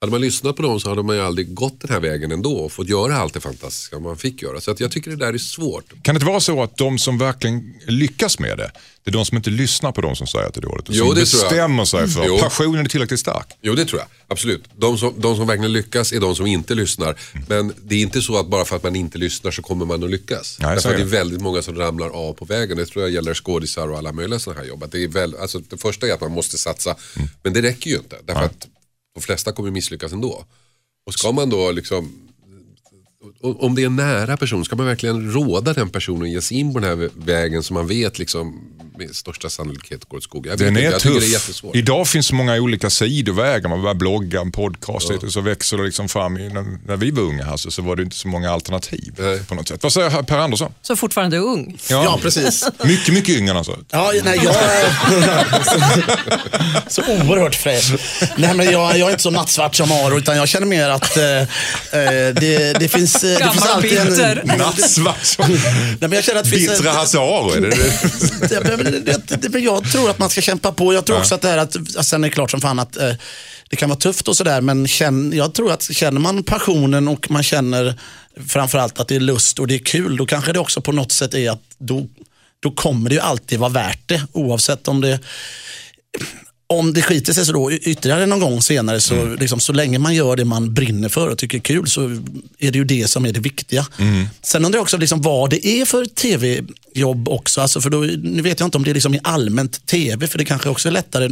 Hade man lyssnat på dem så hade man ju aldrig gått den här vägen ändå och fått göra allt det fantastiska man fick göra. Så att jag tycker det där är svårt.
Kan det inte vara så att de som verkligen lyckas med det, det är de som inte lyssnar på de som säger att det är dåligt. Och
Jo,
som
det tror jag.
bestämmer sig för
Jo.
att passionen är tillräckligt stark.
Jo det tror jag, absolut. De som, de som verkligen lyckas är de som inte lyssnar. Men det är inte så att bara för att man inte lyssnar så kommer man att lyckas.
Nej, så
Därför
är
att det är
det.
väldigt många som ramlar av på vägen. Det tror jag gäller skådisar och alla möjliga sådana här jobb. Att det, är väl, alltså, det första är att man måste satsa,
Mm.
men det räcker ju inte. Därför att de flesta kommer misslyckas ändå. Och ska man då liksom och om det är en nära person, ska man verkligen råda den personen att ge sig in på den här vägen som man vet liksom med största sannolikhet går åt skogen? Jag vet
Den
inte,
är
jag tycker det är
tuff.
jättesvårt.
Idag finns så många olika sidovägar. Man börjar blogga, en podcast och så växer det liksom fram. I- När när vi var unga Hasse så var det inte så många alternativ
Nej.
på något sätt. Vad säger Per Andersson?
Så fortfarande är ung.
Ja,
precis.
Mycket, mycket yngre än alltså.
Ja, nej, jag är (laughs) så oerhört fräsch. Nej, men jag, jag är inte så nattsvart som Aro, utan jag känner mer att eh, eh, det, det finns... eh, Det
Gammal
finns
och
alltid en,
bitter.
Nej,
Nattsvart som
men jag känner att det finns
bittra
en,
Hasse Aro. Är det
(laughs)
det?
Ja, men det- det- det- men jag tror att man ska kämpa på. Jag tror också att det här att, att sen är det klart som fan att eh, det kan vara tufft och sådär, men känn, jag tror att känner man passionen och man känner framförallt att det är lust och det är kul, då kanske det också på något sätt är att då, då kommer det ju alltid vara värt det, oavsett om det om det skiter sig så då y- ytterligare någon gång senare, så, liksom, så länge man gör det man brinner för och tycker är kul så är det ju det som är det viktiga. Sen undrar jag också liksom, vad det är för tv-jobb också. Alltså, för då, nu vet jag inte om det är liksom i allmänt tv, för det kanske också är lättare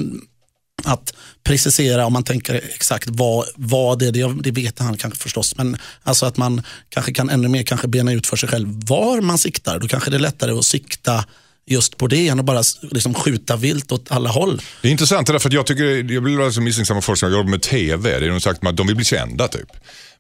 att precisera om man tänker exakt vad, vad det är. Det, det vet han kanske förstås, men alltså att man kanske kan ännu mer kanske bena ut för sig själv var man siktar. Då kanske det är lättare att sikta just på det än att bara s- liksom skjuta vilt åt alla håll.
Det är intressant det där, för att jag, tycker, jag blir alltså misstänksam av folk som jobbar med TV. Det är de sagt att de vill bli kända typ.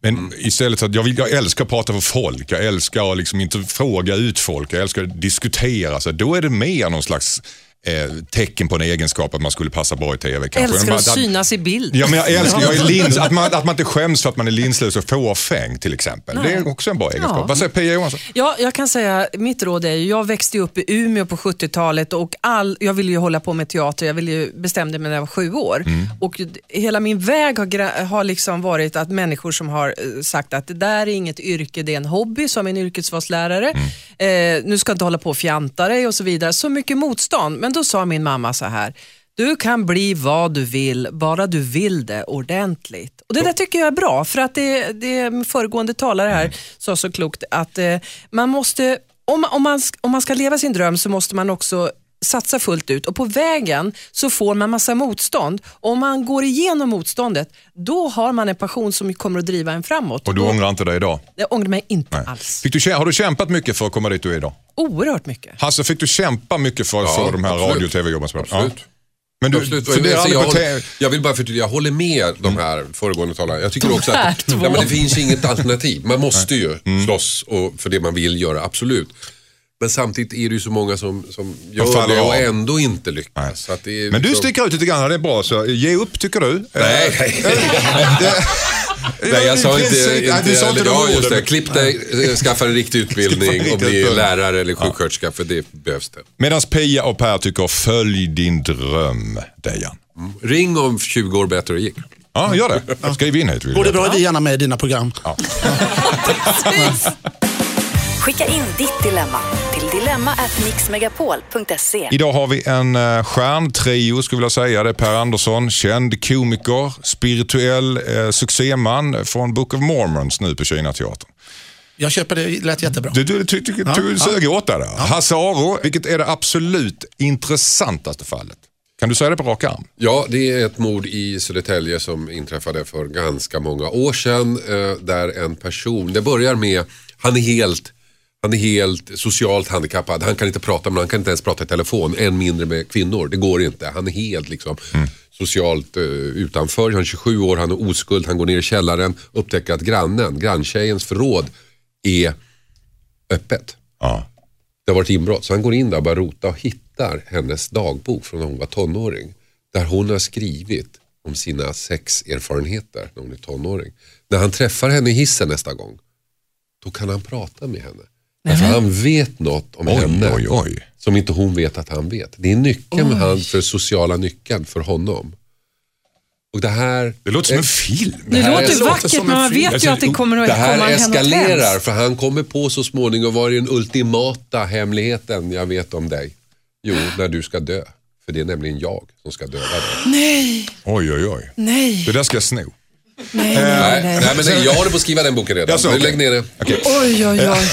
Men istället för att jag, vill, jag älskar att prata för folk, jag älskar att liksom inte fråga ut folk, jag älskar att diskutera. Så då är det mer någon slags eh, tecken på en egenskap att man skulle passa bra i TV. Kanske.
Älskar
Men
att
man-
synas i bild.
Ja, men jag älskar jag är lins, att, man, att man inte skäms för att man är linslös och fåfäng till exempel. Det är också en bra egenskap. Vad säger Pia Johansson?
Ja, jag kan säga, mitt råd är ju, jag växte ju upp i Umeå på 70-talet och all, jag ville ju hålla på med teater, jag ville ju, bestämde mig när jag var sju år. Och d- hela min väg har, gra- har liksom varit att människor som har eh, sagt att det där är inget yrke, det är en hobby, som min yrkesvalslärare. Eh, nu ska du inte hålla på och fjanta dig och så vidare. Så mycket motstånd. Men då sa min mamma så här, du kan bli vad du vill, bara du vill det ordentligt. Och Det där tycker jag är bra, för att det, det föregående talare här sa så klokt att eh, man måste, om, om, man, sk- om man ska leva sin dröm så måste man också satsa fullt ut och på vägen så får man massa motstånd. Om man går igenom motståndet, då har man en passion som kommer att driva en framåt.
Och du ångrar inte dig idag?
Jag ångrar mig inte
Nej.
alls.
Fick du, kä- har du kämpat mycket för att komma dit du är idag?
Oerhört mycket.
Hasse, fick du kämpa mycket för att få de här
absolut.
radio och tv-jobben? som- Ja.
Absolut.
Men du
Absolut. Jag,
funderar aldrig
jag,
på
håller,
tv?
jag vill bara förtydliga, jag håller med de här föregående talarna. Jag tycker också
här
att
två.
ja, men det finns inget alternativ. Man måste ju
Mm.
slåss och, för det man vill göra, absolut. Men samtidigt är det ju så många som, som gör
faller
det och
av.
ändå inte
Nej.
lyckas. Så att det är
Men du
liksom-
sticker ut lite grann, det är bra. Så ge upp tycker du?
Nej,
Eh,
nej.
det-
(laughs) Nej, jag
i
sa inte,
princip- nej,
inte,
du sa
eller-
inte de
ja, just det.
orden.
Klipp dig, eh, skaffa en riktig
(laughs) Skaffa en
utbildning
riktig
om ni är
utbildning.
lärare eller sjuksköterska, för det behövs det.
Medan Pia och Per tycker följ din dröm, Dejan.
Ring om 20 år bättre och gick.
Ja, gör det. Skriv in hit. vill
Går det
jag.
bra är vi gärna med i dina program.
Ja.
Skicka in ditt dilemma till dilemma@mixmegapol.se.
Idag har vi en eh, stjärntrio skulle jag vilja säga. Det är Per Andersson, känd komiker, spirituell eh, succéman från Book of Mormons nu på Kinateatern.
Jag köper det, det lät jättebra.
Du, du, du, du, du
ja.
sög åt dig där. Hasse Aro, vilket är det absolut intressantaste fallet? Kan du säga det på rak arm?
Ja, det är ett mord i Södertälje som inträffade för ganska många år sedan. eh, Där en person, det börjar med, han är helt han är helt socialt handikappad. Han kan inte prata med han kan inte ens prata i telefon. Än mindre med kvinnor. Det går inte. Han är helt liksom, socialt eh, utanför. Han är 27 år, han är oskuld. Han går ner i källaren. Upptäcker att grannen, granntjejens förråd är öppet.
Ja.
Det har varit inbrott så han går in där och börjar rota och hittar hennes dagbok från när hon var tonåring. Där hon har skrivit om sina sexerfarenheter när hon är tonåring. När han träffar henne i hissen nästa gång, då kan han prata med henne. Alltså han vet något om
Oj,
henne
oj, oj.
som inte hon vet att han vet. Det är nyckeln han, för sociala nyckeln för honom. Och det här...
Det låter som en film.
Det,
här
låter
låter
vackert
som en
men man
film.
vet ju
Alltså,
att det kommer att
Det
komma
här
hända något
eskalerar
hemskt.
för han kommer på så småningom, vad är den ultimata hemligheten jag vet om dig? Jo, när du ska dö. För det är nämligen jag som ska döda dig.
Nej,
Oj, oj, oj.
nej,
Det där ska jag sno.
nej,
Nej,
nej. nej.
nej, men nej, jag håller på att skriva den boken redan.
Jaså,
Nu
okej.
Lägg ner det.
Oj, oj, oj.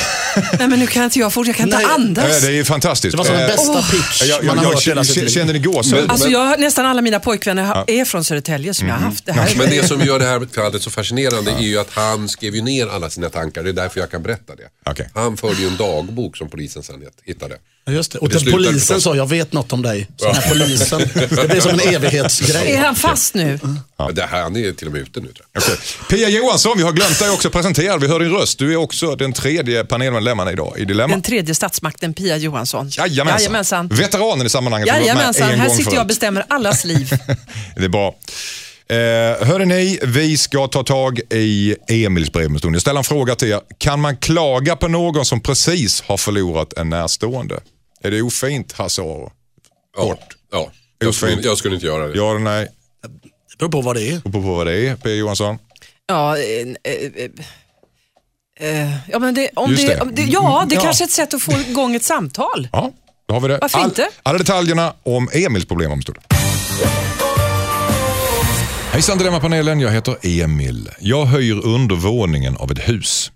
Nej, men nu kan inte jag fortsätta. Jag kan inte
Nej.
Eh,
andas.
Det är ju fantastiskt.
Det var som den
Eh,
bästa pitch
Jag,
man
jag,
har
jag
hört i hela sitt
känner,
liv.
känner det gåshud.
Alltså jag, har- nästan alla mina pojkvänner ha- är från Södertälje som jag
Mm-hmm.
har haft. Det här.
Men det som gör det här fallet så fascinerande är ju att han skrev ju ner alla sina tankar. Det är därför jag kan berätta det.
Okej.
Han förde ju en dagbok som polisen sen hittade.
Ja, Just det. Och
Det
den
slutar
polisen
förstås.
sa, jag vet något om dig. Så den här polisen, det blir
(laughs)
som en
Är
evighetsgrej.
han fast nu?
Det här, han är till och med ute nu tror jag.
Okej. Pia Johansson, vi har glömt dig också presenterad. Vi hör din röst. Du är också den tredje panelmedlemmen idag i Dilemma.
Den tredje statsmakten, Pia Johansson.
Jajamensan.
Jajamensan.
Veteranen i sammanhanget. som har varit med
Jajamensan,
en
här
gång
sitter jag och
förut.
bestämmer allas liv.
(laughs) Det är bra. Eh, hörrni, vi ska ta tag i Emils brev om en stund. Jag ställer en fråga till er. Kan man klaga på någon som precis har förlorat en närstående? Är det ofint, Hasse Aro?
Ja, ja. Jag, skulle, jag skulle inte göra det.
Ja eller nej?
Det beror på vad det är.
Och på vad det är, Pia Johansson?
Ja, eh, eh, eh, ja, men det, om
Just
det,
det. Mm,
Om det, ja, det
Ja.
kanske är ett sätt att få igång ett samtal.
Ja, då har vi det.
Varför inte?
Alla detaljerna om Emils problem om en stund. Hejsan Dilemma-panelen, jag heter Emil. Jag höjer undervåningen av ett hus.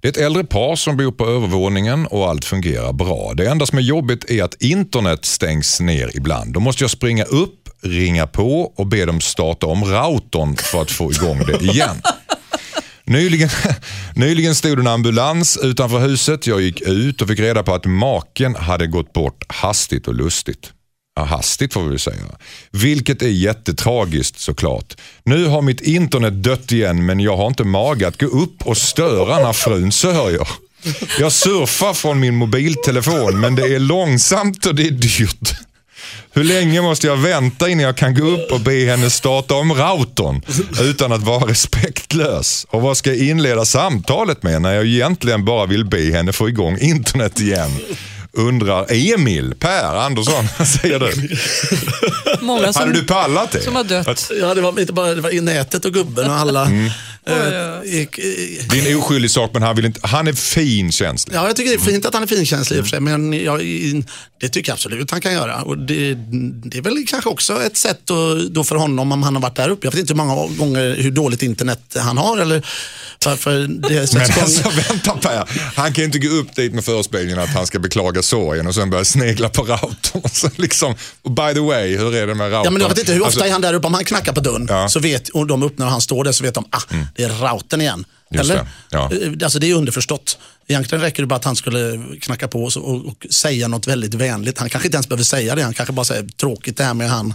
Det är ett äldre par som bor på övervåningen och allt fungerar bra. Det enda som är jobbigt är att internet stängs ner ibland. Då måste jag springa upp, ringa på och be dem starta om routern för att få igång det igen. Nyligen, (laughs) nyligen stod en ambulans utanför huset. Jag gick ut och fick reda på att maken hade gått bort hastigt och lustigt. Ja, hastigt får vi väl säga. Vilket är jättetragiskt såklart. Nu har mitt internet dött igen men jag har inte mage att gå upp och störa när frun sörjer. Jag surfar från min mobiltelefon men det är långsamt och det är dyrt. Hur länge måste jag vänta innan jag kan gå upp och be henne starta om routern utan att vara respektlös? Och vad ska jag inleda samtalet med när jag egentligen bara vill be henne få igång internet igen? Undrar Emil, Per Andersson, (laughs) vad säger du?
Många
Hade du
som,
pallat det?
som har dött.
Ja, det var inte bara det var i nätet och gubben och alla.
Mm.
eh, gick, eh,
Det är en oskyldig sak men han, vill inte, han är finkänslig.
ja, jag tycker det är fint att han är finkänslig i och för sig,
Mm.
men jag, det tycker jag absolut han kan göra. Och det, det är väl kanske också ett sätt att, då för honom om han har varit där uppe. Jag vet inte hur många gånger hur dåligt internet han har eller varför det är
Men
sex
(laughs) alltså
gånger.
vänta Per, han kan ju inte gå upp dit med förespeglingen att han ska beklaga sorgen och sen börja snegla på routern. (laughs) Och så liksom, och by the way, hur är det med routern?
Ja, men jag vet inte, hur ofta
Alltså,
är han där uppe? Om han knackar på dörren
Ja. Mm.
så vet, och de öppnar och han står där så vet de ah, det är routern igen.
Just
Eller?
det, ja.
Eh, Alltså, det är underförstått. Egentligen räcker det bara att han skulle knacka på och, så- och, och säga något väldigt vänligt. Han kanske inte ens behöver säga det. Han kanske bara säger tråkigt det här med han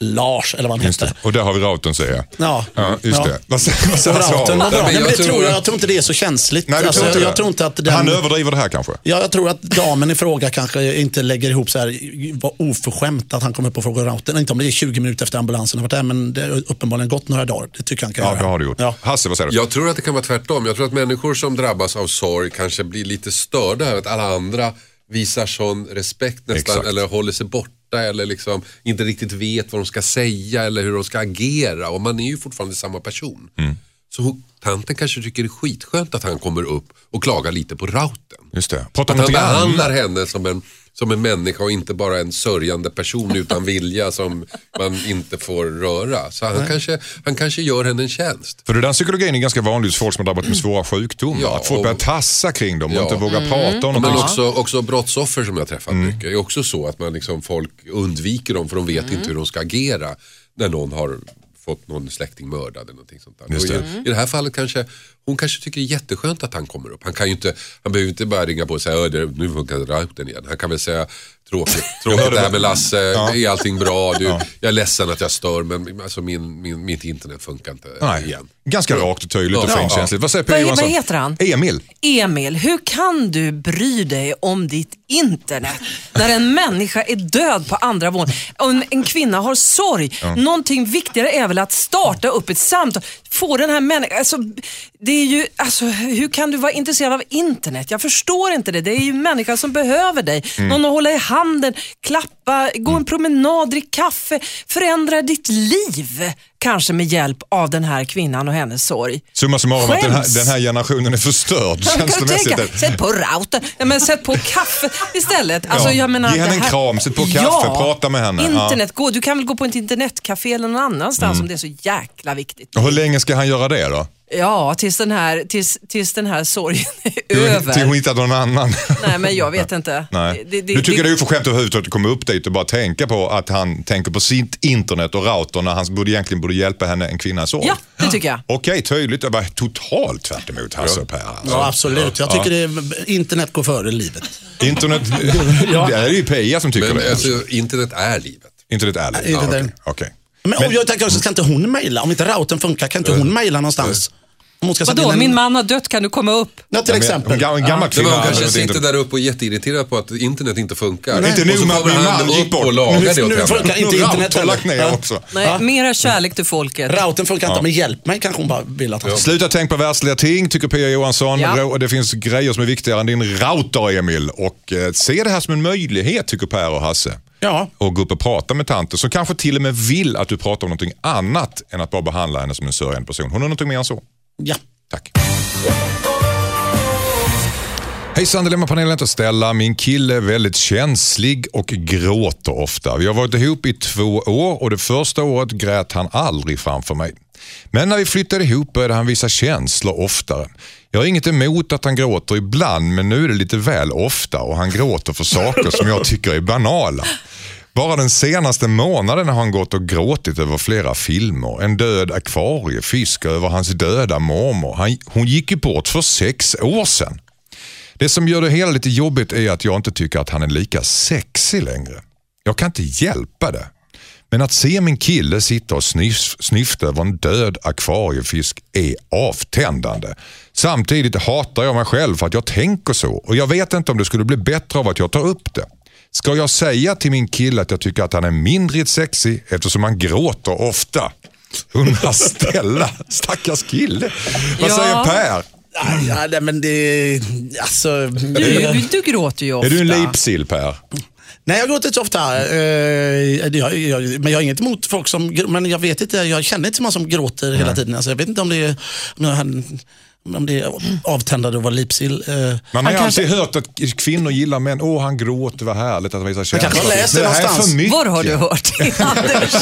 Lars eller vad han
Mm. Just
heter.
det. Och där har vi routern säger jag.
Ja.
Ja, just
Ja.
det. Vad säger, vad säger
Och
Sara?
routern var bra.
Nej, men
Nej, men
jag
det tror
tror-
jag, jag tror inte det är så känsligt.
Nej, du
Alltså,
tror inte
jag,
det?
jag tror inte att den...
Han överdriver det här kanske?
Ja, jag tror att damen i fråga kanske inte lägger ihop så här, vad oförskämt att han kommer på fråga routern. Inte om det är 20 minuter efter ambulansen har varit där, men det har uppenbarligen gått några dagar. Det tycker jag han kan
Ja,
göra.
det har du gjort.
Ja.
Hasse, vad säger du?
Jag tror att det kan vara tvärtom. Jag tror att människor som drabbas av sorg kanske blir lite störda över att alla andra visar sån respekt nästan
Exakt.
eller håller sig borta eller liksom inte riktigt vet vad de ska säga eller hur de ska agera och man är ju fortfarande samma person. Så hon, tanten kanske tycker det är skitskönt att han kommer upp och klagar lite på routern.
Just det. Prata om
Att
någonting
han behandlar
annat.
henne som en, som en människa och inte bara en sörjande person utan vilja som man inte får röra. Så han, kanske, han kanske gör henne en tjänst.
För det där psykologin är ganska vanlig hos folk som har drabbats med svåra sjukdomar.
Mm. Ja,
att folk
och-
börjar tassa kring dem och
Ja.
inte vågar
Mm.
prata om
Men
någonting.
också, också brottsoffer som jag träffat
Mm.
mycket är också så att man liksom, folk undviker dem för de vet
Mm.
inte hur de ska agera när någon har fått någon släkting mördad eller någonting sånt där.
Just
Och I, I det här fallet kanske hon kanske tycker det är jätteskönt att han kommer upp. Han, kan ju inte, han behöver inte bara ringa på och säga "Ö, det- nu funkar routern igen. Han kan väl säga tråkigt,
(laughs)
tråkigt det här med Lasse, är allting bra? Du, Jag är ledsen att jag stör men alltså, min, min, mitt internet funkar inte
Nej.
igen.
Ganska rakt och tydligt och
Ja.
finkänsligt. Vad säger
Vad-
Pia Johansson?
vad heter han?
Emil.
Emil, hur kan du bry dig om ditt internet när en människa är död på andra våningen? Och En, en kvinna har sorg. Någonting viktigare är väl att starta upp ett samtal. Få den här människan... Alltså, det är ju, alltså, hur kan du vara intresserad av internet? Jag förstår inte det. Det är ju människan som behöver dig.
Mm.
Någon att hålla i handen, klappa, gå en promenad, drick kaffe. Förändra ditt liv. Kanske med hjälp av den här kvinnan och hennes sorg.
Summa summarum att den här,
Skäms.
den här generationen är förstörd
Jag kan
känslomässigt.
tänka, sätt på routern, Nej, men sätt på kaffe istället. Alltså,
Ja,
jag menar,
ge henne
det
en
här-
kram, sätt på kaffe, prata med henne. Mm. Ja.
Internet, gå, du kan väl gå på ett internetcafé eller någon annanstans om det är så jäkla viktigt.
Och Hur länge ska han göra det då?
Ja, tills den här, tills, tills den här sorgen (laughs) är
Till-
över.
Till hon hittar någon annan.
Nej, men jag vet inte.
Nej.
Det- det-
du tycker det,
det-
är oförskämt överhuvudtaget att komma upp dit och bara tänka på att han tänker på sitt internet och router när han borde egentligen borde hjälpa henne, en kvinna, i sorg.
Ja, det tycker jag.
Okej, tydligt. Det var totalt tvärt emot Hasse och Per. alltså.
Ja, absolut. Jag tycker det, internet går före livet.
(laughs)
Internet,
Ja.
det är ju Pia som tycker
Men
det. Alltså.
alltså, internet är livet.
Internet är det.
Internet är
okej,
det.
okej.
Men, och jag tänker också, ska inte hon mejla? Om inte routern funkar, kan inte hon mejla någonstans? Om hon ska sätta in
Vadå,
alltså,
en-
min man har dött, kan du komma upp?
Ja, till
Ja, men
exempel.
En gam- en gammal
Det
kvinna.
var han
hade
kanske
ett
sitter
internet.
där uppe och är jätteirriterad på att internet inte funkar.
Nej, inte
Och så
nu, men
kommer
min
han
man gick
upp
bort.
och lagar det
Nu- nu
åt henne.
funkar- Inte
Någon
internet
router
heller.
lagt ner
Ja.
också.
Nej, mera kärlek till folket.
Routern funkar inte, men hjälp mig kanske hon bara vill att han ska...
Sluta tänk på världsliga ting, tycker Pia Johansson.
Ja.
Rå- Det finns grejer som är viktigare än din router, Emil. Och eh, se det här som en möjlighet, tycker Per och Hasse.
Ja.
Och gå upp och prata med tanten som kanske till och med vill att du pratar om någonting annat än att bara behandla henne som en sörjande person. Hon har någonting mer än så.
Ja.
Tack. Hejsan Dilemmapanelen, heter Stella. Min kille är väldigt känslig och gråter ofta. Vi har varit ihop i två år och det första året grät han aldrig framför mig. Men när vi flyttade ihop började han visa känslor oftare. Jag har inget emot att han gråter ibland men nu är det lite väl ofta och han gråter för saker som jag tycker är banala. Bara den senaste månaden har han gått och gråtit över flera filmer. En död akvariefisk över hans döda mormor. Han, hon gick ju bort för sex år sedan. Det som gör det hela lite jobbigt är att jag inte tycker att han är lika sexig längre. Jag kan inte hjälpa det. Men att se min kille sitta och snyf, snyfta över en död akvariefisk är avtändande. Samtidigt hatar jag mig själv för att jag tänker så och jag vet inte om det skulle bli bättre av att jag tar upp det. Ska jag säga till min kille att jag tycker att han är mindre sexig eftersom han gråter ofta? (laughs) Undrar Stella, stackars kille. Vad
Ja.
säger Per?
Nej, ja, nej, men det... Alltså...
Du, du, du gråter ju ofta.
Är du en lipsill Per?
Nej, jag gråter inte så ofta. Eh, jag, jag, men jag har inget emot folk som gr- Men jag vet inte, jag känner inte så många som gråter hela tiden. Alltså, jag vet inte om det är, om han- om det är avtändande att vara lipsill. Eh,
Man har
han
ju
kanske-
alltid hört att kvinnor gillar män. Åh, han gråter, vad härligt att han visar känslor.
kanske läser
det här är
någonstans.
för mycket.
Var har du hört
(laughs)
det, Anders?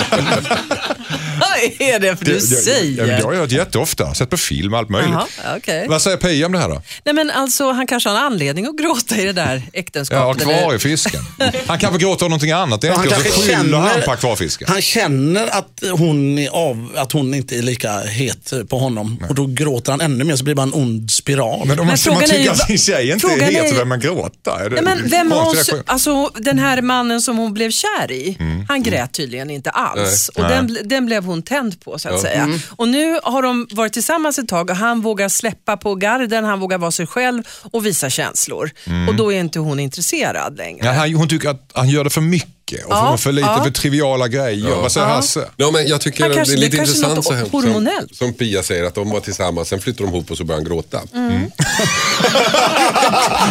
Vad är det för du
Jag, jag, jag har
säger?
hört jätteofta. Sett på film, allt möjligt.
Jaha, okej.
Vad säger Pia om det här då?
Nej men alltså han kanske har en anledning att gråta i det där
(laughs) Ja,
äktenskapet. eller-
akvariefisken. Han kanske gråter av någonting annat. Det är
Ja, han
enkelt. Så
kanske
skyller han
känner-
på akvariefisken.
Han känner att hon, är av, att hon inte är lika het på honom och då gråter han ännu mer så blir det bara en ond spiral.
Men om man, man
frågan är
tycker
ju
att
vad-
sin tjej inte är
frågan
het
är
så
ju-
vem man gråta. Är det-
Nej, men vem har hon,
konstig reaktion?
alltså, den här mannen som hon blev kär i,
Mm,
han grät tydligen inte alls. Och den, den blev hon tänd på så att säga.
Mm.
Och nu har de varit tillsammans ett tag och han vågar släppa på garden, han vågar vara sig själv
Mm.
och visa känslor. Och då är inte hon intresserad längre.
Ja, han, hon tycker att han gör det för mycket. mycket och för, för lite för triviala grejer. Vad säger Hasse?
Ja, men jag tycker
Han
det
kanske-
är
det
lite
kanske är
intressant
något
så här, som,
hormonellt.
som Pia säger att de var tillsammans, sen flyttade de ihop och så började han gråta.
Mm.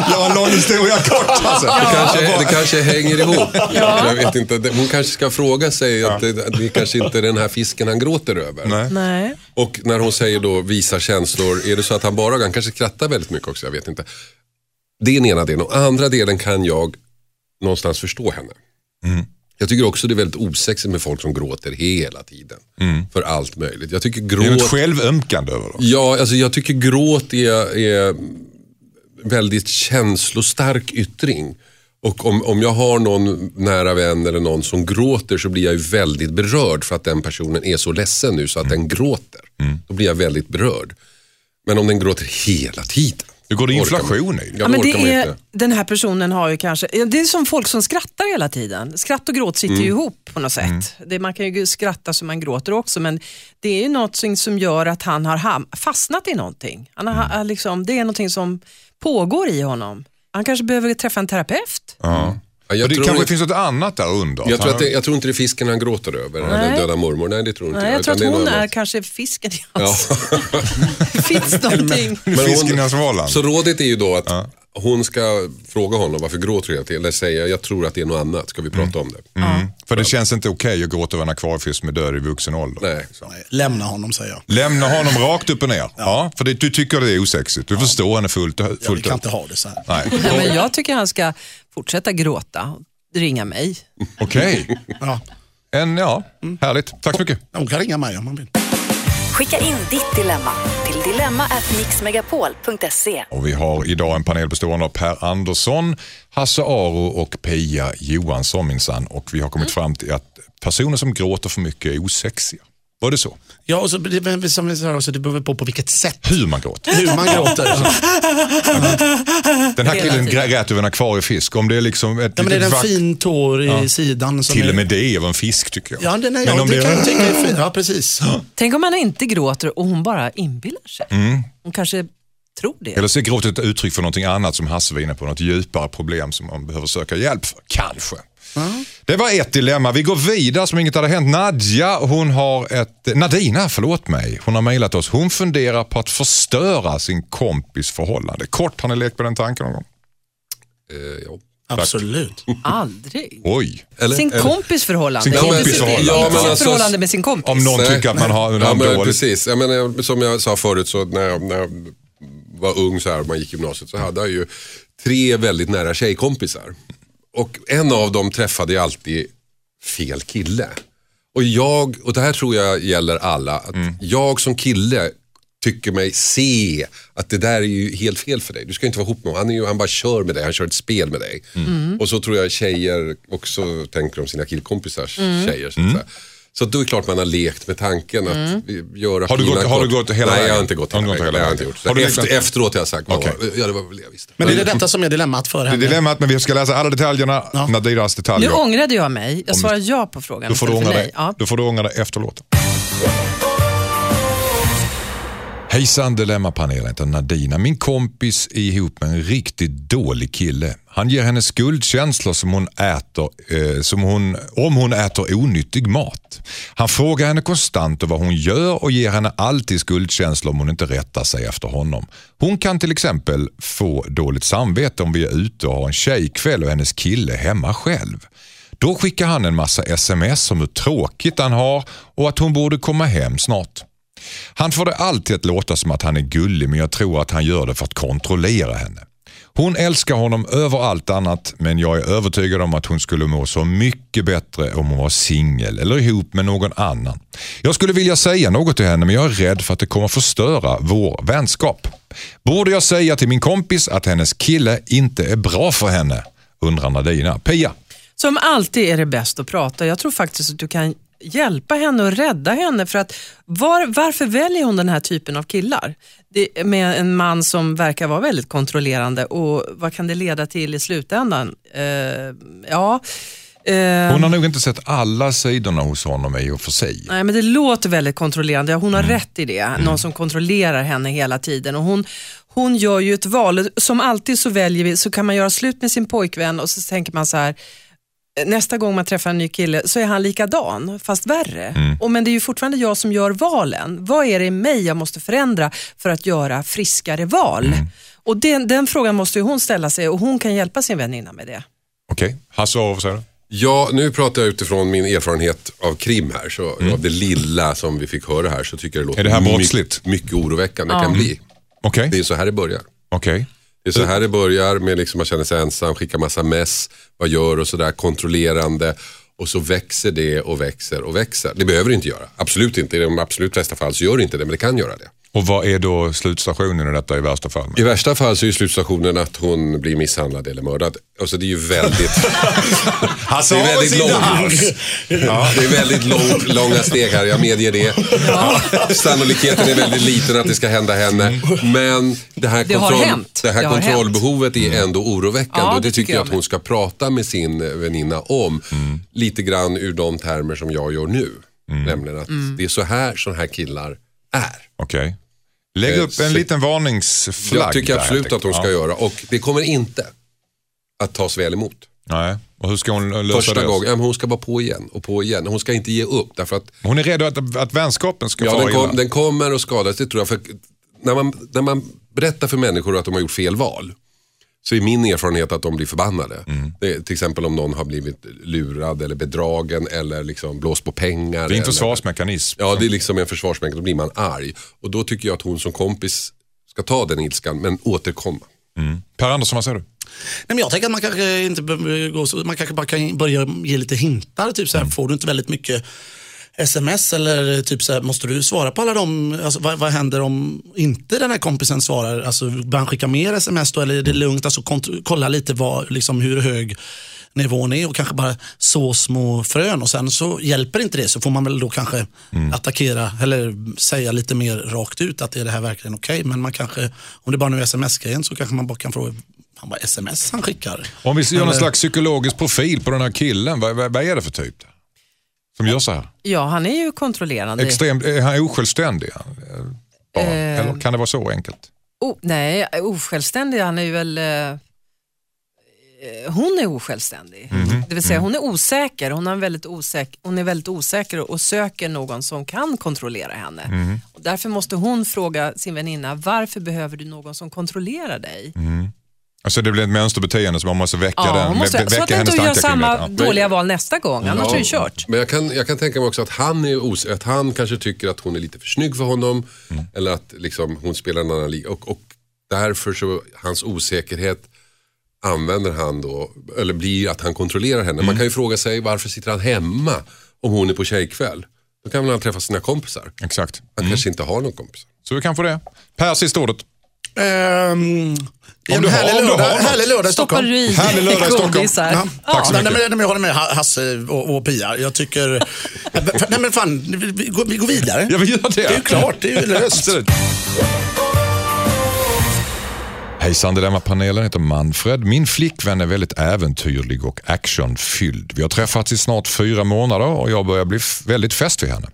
Det var en lång historia kort alltså.
Det, kanske, det kanske hänger ihop. Jag vet inte, Det- hon kanske ska fråga sig att det, det är kanske inte är den här fisken han gråter över.
Nej.
Nej.
Och när hon säger då visa känslor, är det så att han bara, han kanske skrattar väldigt mycket också, jag vet inte. Det är den ena delen. Och andra delen kan jag någonstans förstå henne.
Mm.
Jag tycker också det är väldigt osexigt med folk som gråter hela tiden. För allt möjligt. Jag tycker
Mm. Det är något
gråt...
självömkande över det.
Ja, alltså jag tycker gråt är, är väldigt känslostark yttring. Och om, om jag har någon nära vän eller någon som gråter så blir jag ju väldigt berörd för att den personen är så ledsen nu så att den gråter.
Mm.
Då blir jag väldigt berörd. Men om den gråter hela tiden.
Det går det
orkar man-
inflation i.
Ja,
Ja, men
då orkar man ju
det är,
inte.
den här personen har ju kanske, ja, det är som folk som skrattar hela tiden. Skratt och gråt sitter ju
Mm.
ihop på något sätt. Det, man kan ju skratta så man gråter också men det är ju något som- som gör att han har ham- fastnat i någonting. Han har,
Mm.
ha- liksom, det är någonting som pågår i honom. Han kanske behöver träffa en terapeut.
Ja,
Och
jag,
det
tror,
kanske
inte-
finns något annat där under.
jag, tror att det, jag tror inte det är fisken han gråter över. Eller döda mormor. Nej, det tror inte
Nej, jag tror
utan
att
det
hon
något
är
annat.
kanske fisken i
Ja.
hans...
(laughs)
Det finns någonting.
Men hon-
Fisken i hans Valand.
Så rådet är ju då att hon ska fråga honom varför gråter du hela tiden? Eller säga jag tror att det är något annat, ska vi prata om det?
Mm. För det känns inte okej att gråta över en akvariefisk som är död i vuxen ålder.
Nej.
Nej, Lämna honom säger jag.
Lämna honom rakt upp och ner. Ja. för det, du tycker det är osexigt. Du förstår henne fullt och
Jag vi
fullt
kan
ut.
inte ha det så här.
Nej.
Nej, men jag tycker han ska fortsätta gråta och ringa mig.
Okej,
Ja.
En, ja,
Mm.
härligt. Tack så mycket.
Hon kan ringa mig om hon vill.
Skicka in ditt dilemma till dilemma@mixmegapol.se.
Och vi har idag en panel bestående av Per Andersson, Hasse Aro och Pia Johansson minsann. Och vi har
Mm.
kommit fram till att personer som gråter för mycket är osexiga. Var det så?
Ja, och så, det, men som vi sa, också, det beror på på vilket sätt.
(laughs) Hur man gråter.
Hur man gråter. Så.
Den här
Hela
killen
tiden.
grät över en akvariefisk. Om det är liksom ett
Ja, men det är
litet
en
vack-
fin tår i sidan. Som
Till
är,
och med det är en fisk tycker jag.
Ja, den
men
är, ja
om
det
det
kan jag
är...
tycka är fint. Ja, precis.
Tänk om han inte gråter och hon bara inbillar sig. Hon kanske tror det.
Mm. Eller så är gråtet ett uttryck för någonting annat som Hasse var inne på, något djupare problem som man behöver söka hjälp för. Kanske. Det var ett dilemma. Vi går vidare som inget hade hänt. Nadja, hon har ett... Nadina, förlåt mig. Hon har mejlat oss. Hon funderar på att förstöra sin kompis förhållande. Kort, har ni lekt med den tanken någon gång?
Eh, ja.
Absolut.
Aldrig.
Oj.
Eller,
Sin
eller-
kompis förhållande.
Sin
Inte
kompis
sitt-
förhållande.
inte
Ja, men
sitt
alltså-
förhållande med sin kompis.
Om någon
Nej.
tycker att man har en
Ja, men
dålig...
precis. Jag menar, som jag sa förut, så när, jag, när jag var ung så här, man gick gymnasiet
Mm.
så hade jag ju tre väldigt nära tjejkompisar. Och en av dem träffade jag alltid fel kille. Och jag, och det här tror jag gäller alla, att
Mm.
jag som kille tycker mig se att det där är ju helt fel för dig. Du ska inte vara ihop med honom. Han, är ju, han bara kör med dig, han kör ett spel med dig.
Mm.
Och så tror jag tjejer också tänker om sina killkompisars
Mm.
tjejer. Så, att säga. så då är det klart man har lekt med tanken att vi- göra
Mm. Har du
pinan
gått- har du
kort.
gått hela
Nej, jag
vägen?
har inte gått
Har
hela
du gått
vägen.
hela
Det har jag
vägen?
inte gjort.
Har du
efter,
lekt-
efteråt har jag sagt, vad
Okej.
var det? ja det var väl det jag visste.
Men är det detta som är dilemmat för
Det är
henne?
dilemmat, men vi ska läsa alla detaljerna. Nadiras
Nu
detaljer.
ångrade jag mig. Jag svarade ja på frågan
Då får du
istället
ångra
för
dig.
nej. Ja.
Då får du ångra dig efter låten. Hejsan Dilemmapanelen, jag heter Nadina. Min kompis är ihop med en riktigt dålig kille. Han ger henne skuldkänslor som hon äter, eh, som hon, om hon äter onyttig mat. Han frågar henne konstant om vad hon gör och ger henne alltid skuldkänslor om hon inte rättar sig efter honom. Hon kan till exempel få dåligt samvete om vi är ute och har en tjejkväll och hennes kille är hemma själv. Då skickar han en massa sms om hur tråkigt han har och att hon borde komma hem snart. Han får det alltid att låta som att han är gullig men jag tror att han gör det för att kontrollera henne. Hon älskar honom över allt annat men jag är övertygad om att hon skulle må så mycket bättre om hon var singel eller ihop med någon annan. Jag skulle vilja säga något till henne men jag är rädd för att det kommer förstöra vår vänskap. Borde jag säga till min kompis att hennes kille inte är bra för henne? Undrar Nadina. Pia,
Som alltid är det bäst att prata. Jag tror faktiskt att du kan hjälpa henne och rädda henne. För att var, varför väljer hon den här typen av killar? Det, med en man som verkar vara väldigt kontrollerande och vad kan det leda till i slutändan? Eh, ja, eh,
hon har nog inte sett alla sidorna hos honom i och för sig.
Nej, men det låter väldigt kontrollerande. Ja, Hon har rätt i det. Någon som kontrollerar henne hela tiden. Och hon, hon gör ju ett val. Som alltid så väljer vi, så kan man göra slut med sin pojkvän och så tänker man så här, nästa gång man träffar en ny kille så är han likadan, fast värre. Och, men det är ju fortfarande jag som gör valen. Vad är det i mig jag måste förändra för att göra friskare val? Och den, den frågan måste ju hon ställa sig och hon kan hjälpa sin väninna med det.
Okej, Hasse av säger du?
Ja, nu pratar jag utifrån min erfarenhet av krim här. Så Av det lilla som vi fick höra här så tycker jag det låter
Mm. Är det här
my-
brottsligt?
mycket oroväckande kan bli.
Okej,
Det är så här det börjar.
okej.
Det är så här det börjar med liksom man känner sig ensam, skickar massa mess, vad gör och sådär, kontrollerande. Och så växer det och växer och växer. Det behöver det inte göra. Absolut inte. I de absolut flesta fall så gör det inte det, men det kan göra det.
Och vad är då slutstationen i detta i värsta fall?
I värsta fall så är ju slutstationen att hon blir misshandlad eller mördad. Alltså det är ju väldigt...
Hasse
Det är
av
väldigt
sin
långt. Ja, det är väldigt långt, långa steg här, jag medger det. Sannolikheten är väldigt liten att det ska hända henne. Men det här,
Det har
kontroll,
hänt.
det här
Det har
kontrollbehovet är ändå oroväckande
Ja,
och det
det
tycker jag att
med.
hon ska prata med sin eh, väninna om. Lite grann ur de termer som jag gör nu. Nämligen att
Mm.
det är så här sådana här killar är.
Okej. Lägg
Eh,
upp
så-
en liten varningsflagg.
Jag tycker
där, liksom.
absolut
helt
att hon ska
enkelt.
göra och det kommer inte att tas väl emot.
Ja. Nej. Och hur ska hon lösa
Första
det?
gången, ja, men hon ska bara på igen och på igen. Hon ska inte ge upp därför att
Hon är rädd att, att vänskapen ska
Ja,
fara
den, kom,
illa.
den kommer att skadas, det tror jag. För när, man, när man berättar för människor att de har gjort fel val, så är min erfarenhet att de blir förbannade.
Mm.
Det, är till exempel om någon har blivit lurad eller bedragen eller liksom blåst på pengar.
Det är en
eller,
försvarsmekanism.
Ja, det är liksom en försvarsmekanism. Då blir man arg. Och då tycker jag att hon som kompis ska ta den ilskan, men återkomma.
Per Andersson, vad säger du?
Nej, men jag tänker att man kanske inte behöver gå så, man kanske bara kan börja ge lite hintar. Typ så här, får du inte väldigt mycket sms eller typ så här, måste du svara på alla dem? Alltså, vad, vad händer om inte den här kompisen svarar? Alltså, bör han skicka mer sms då eller är det lugnt? Alltså, kont- kolla lite vad, liksom, hur hög nivån är och kanske bara så små frön och sen så hjälper inte det så får man väl då kanske attackera eller säga lite mer rakt ut att är det här verkligen okej men man kanske om det bara nu är sms-grejen så kanske man bara kan fråga han bara sms han skickar.
Om vi gör någon
Eller-
slags psykologisk profil på den här killen, vad, vad, vad är det för typ? Som gör så här?
Ja, han är ju kontrollerande.
Extremt, är han osjälvständig? Eh, Bara.
Eh.
Eller kan det vara så enkelt?
Oh, nej, osjälvständig, han är ju väl... eh, eh, Hon är osjälvständig.
Mhm.
Det vill säga hon
Mm.
är osäker, hon är, väldigt osäker, hon är väldigt osäker och- och söker någon som kan kontrollera henne.
Mhm.
Och därför måste hon fråga sin väninna, varför behöver du någon som kontrollerar dig?
Mm, Alltså det blir ett mönsterbeteende som man måste väcka,
Ja,
den,
hon måste,
vä-
så
väcka
att du inte
hennes
gör
tankar kring
samma
det. Ja. Mm.
dåliga val nästa gång, annars är det ju kört.
Men jag kan, jag kan tänka mig också att han, är os- att han kanske tycker att hon är lite för snygg för honom. Eller att liksom, hon spelar en annan liga. Och, och därför så, hans osäkerhet använder han då, eller blir att han kontrollerar henne. Man kan ju fråga sig varför sitter han hemma om hon är på tjejkväll? Då kan väl han träffa sina kompisar. Han
Exakt.
kanske inte har någon kompis.
Så vi kan få det. Per, sista ordet.
Ehm, det är
du
en
har-
härlig
om du
lördag,
har något.
härlig lördag i
Stoppar
Stockholm.
du i
Härlig lördag i Stockholm.
godisar?
Ja.
Tack så
nej,
mycket.
men, nej, men jag håller med Ha- Hasse och, och Pia. Jag tycker... (laughs) nej men fan, vi, vi, går, vi går vidare.
Ja, vi gör det.
Det är ju klart,
(laughs)
det är ju löst.
Absolut. Hejsan Dilemma-panelen heter Manfred. Min flickvän är väldigt äventyrlig och actionfylld. Vi har träffats i snart fyra månader och jag börjar bli f- väldigt fäst vid henne.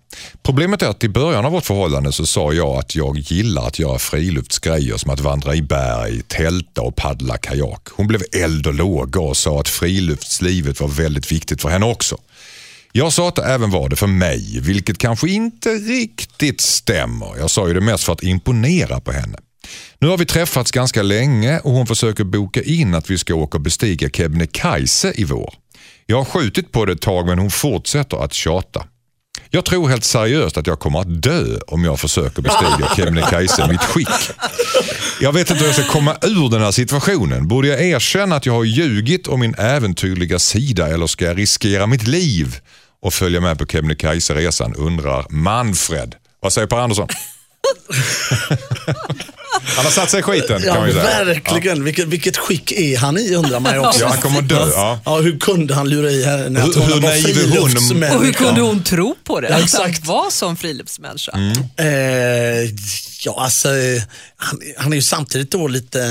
Problemet är att i början av vårt förhållande så sa jag att jag gillar att göra friluftsgrejer som att vandra i berg, tälta och paddla kajak. Hon blev eld och låga och sa att friluftslivet var väldigt viktigt för henne också. Jag sa att det även var det för mig, vilket kanske inte riktigt stämmer. Jag sa ju det mest för att imponera på henne. Nu har vi träffats ganska länge och hon försöker boka in att vi ska åka och bestiga Kebnekaise i vår. Jag har skjutit på det ett tag men hon fortsätter att tjata. Jag tror helt seriöst att jag kommer att dö om jag försöker bestiga Kebnekaise i mitt skick. Jag vet inte hur jag ska komma ur den här situationen. Borde jag erkänna att jag har ljugit om min äventyrliga sida eller ska jag riskera mitt liv och följa med på Kebnekaise-resan undrar Manfred. Vad säger Per Andersson? Han har satt sig i skiten kan
Ja,
man ju säga.
verkligen. Vilket, vilket skick är han i undrar man ju också.
Ja, han kommer att dö, ja.
hur kunde han lura i henne
Hur-
att
hur
hon var
naiv är hon?
Och hur
friluftsmänniska?
kunde hon tro på det?
Ja,
Att han
exakt.
var som friluftsmänniska?
Eh, ja, alltså, eh, han, han är ju samtidigt då lite,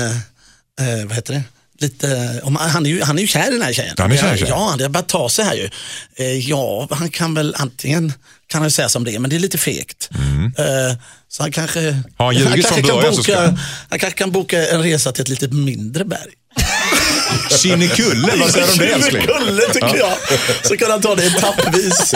eh, vad heter det? Lite, om, han, är ju, han är ju kär i den här tjejen.
Han är kär i tjejen.
Ja, han har börjat ta sig här ju. Eh, ja, han kan väl antingen kan han ju säga som det är, men det är lite fegt. Eh, så han kanske,
Har Mm. han ljugit från
kanske kan
början så ska-
boka, han kanske kan boka en resa till ett lite mindre berg.
Kinnekulle, vad säger du om det älskling?
Kulle tycker jag. Så kan han ta det
(laughs)
etappvis.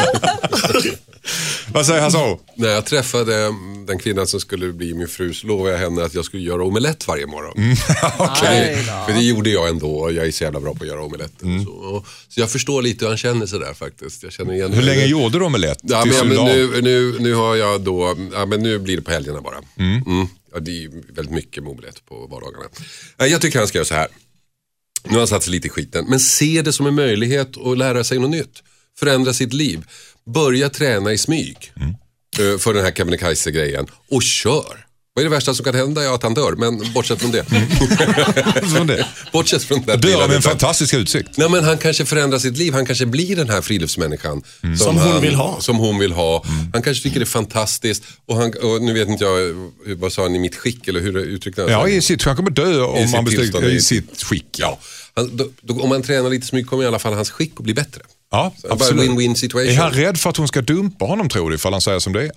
Vad säger Hasse
När jag träffade mm, den kvinnan som skulle bli min fru så lovade jag henne att jag skulle göra omelett varje morgon.
Mm.
(laughs) för, det, för det gjorde jag ändå och jag är så jävla bra på att göra omelett.
Mm.
Så, och, så jag förstår lite hur han känner sig där faktiskt. Jag känner igen
Hur länge
henne.
gjorde du omelett?
Ja, men,
Tills
ja,
du
men
la-
nu, nu, nu har jag då, ja, men nu blir det på helgerna bara. Mm. Ja, det är ju väldigt mycket med omelett på vardagarna. Nej, Jag tycker han ska göra så här. Nu har han satt sig lite i skiten, men se det som en möjlighet att lära sig något nytt. Förändra sitt liv. Börja träna i smyg
Mm.
eh, för den här Kebnekaise-grejen och kör. Vad är det värsta som kan hända? Ja, att han dör, men bortsett från det.
Från det.
(laughs) bortsett från den
Dör
delen
Mm. av en
utav-
fantastisk utsikt.
Nej, men han kanske förändrar sitt liv. Han kanske blir den här friluftsmänniskan.
Mm.
Som hon
han,
vill ha.
Som hon vill ha. Han kanske tycker det är fantastiskt. Och, han, och nu vet inte jag, eh, vad sa han, i mitt skick eller hur uttryckte han
Ja,
sig?
i sitt, han kommer dö om
sitt
han
tillstånd,
bestämmer
i
i
sitt-
sitt skick. Ja,
Ja. Han, då, då, om han tränar lite så mycket kommer i alla fall hans skick att bli bättre.
ja
Så bara
absolut.
win-win situation.
Är han rädd för att hon ska dumpa honom tror du, ifall han säger som det är?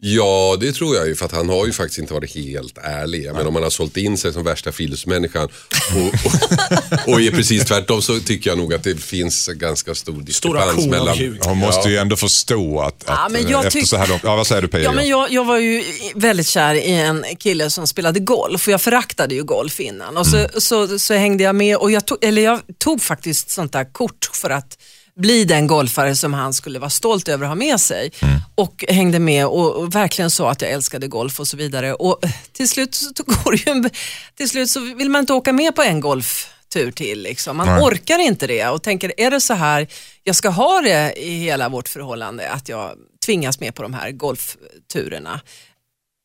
Ja, det tror jag ju för att han har ju faktiskt inte varit helt ärlig. Men om han har sålt in sig som värsta friluftsmänniskan och, och, och är precis tvärtom så tycker jag nog att det finns ganska stor diskrepans
korn av
mellan...
ljug.
Hon måste ju ändå förstå att, att
Ja, men jag
eh, efter
tyck-
så här långt... Ja, vad säger du Pia?
Ja, men jag, jag var ju väldigt kär i en kille som spelade golf och jag föraktade ju golf innan. Och så, så, så hängde jag med och jag tog, eller jag tog faktiskt sånt där kort för att bli den golfare som han skulle vara stolt över att ha med sig. Och hängde med och, och verkligen sa att jag älskade golf och så vidare. Och eh, till slut så, så går det ju en, till slut så vill man inte åka med på en golf tur till. Liksom. Man orkar inte det och tänker, är det så här jag ska ha det i hela vårt förhållande, att jag tvingas med på de här golfturerna?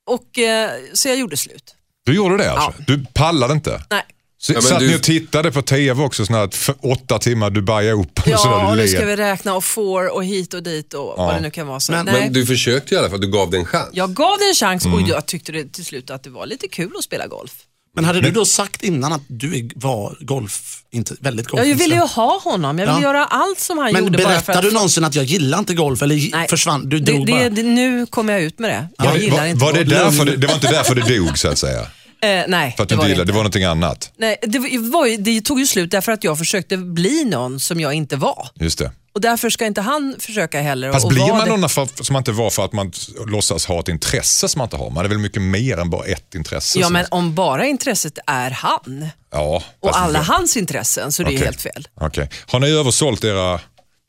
Och, eh, så jag gjorde slut.
Du gjorde det alltså? Du pallade inte?
Nej.
Så,
Ja, men
satt
du-
ni och tittade på tv också, sån här, att för åtta timmar Dubai Open och sådär,
Ja,
du
och nu
led.
ska vi räkna och får och hit och dit och vad det nu kan vara. Så,
Men-
nej.
Men du försökte i alla fall, du gav den en chans.
Jag gav det en chans
Mm.
och jag tyckte det till slut att det var lite kul att spela golf.
Men hade du då sagt innan att du är- var golf, inte, väldigt golf?
Jag ville ju ha honom, jag ville
Ja.
göra allt som han
Men
gjorde. bara för
berättade
att-
du någonsin att jag gillar inte golf eller gi-
Nej.
försvann? Du
det,
drog
det,
bara.
det, Nu kommer jag ut med det. Jag
Var det,
gillar
var,
inte
var det,
golf.
därför det, det var inte därför det dog så att säga?
Eh, nej,
För att du inte gillade, det var någonting annat.
Nej, det, var- var, ju- det tog ju slut därför att jag försökte bli någon som jag inte var.
Just det.
Och därför ska inte han försöka heller.
Fast
och
blir
vara
man
det.
någon för, som man inte var för att man låtsas ha ett intresse som man inte har? Man är väl mycket mer än bara ett intresse?
Ja,
som-
men om bara intresset är han
ja
och
fast-
alla hans intressen så det är
Okej.
helt fel.
Okej. Har ni översålt era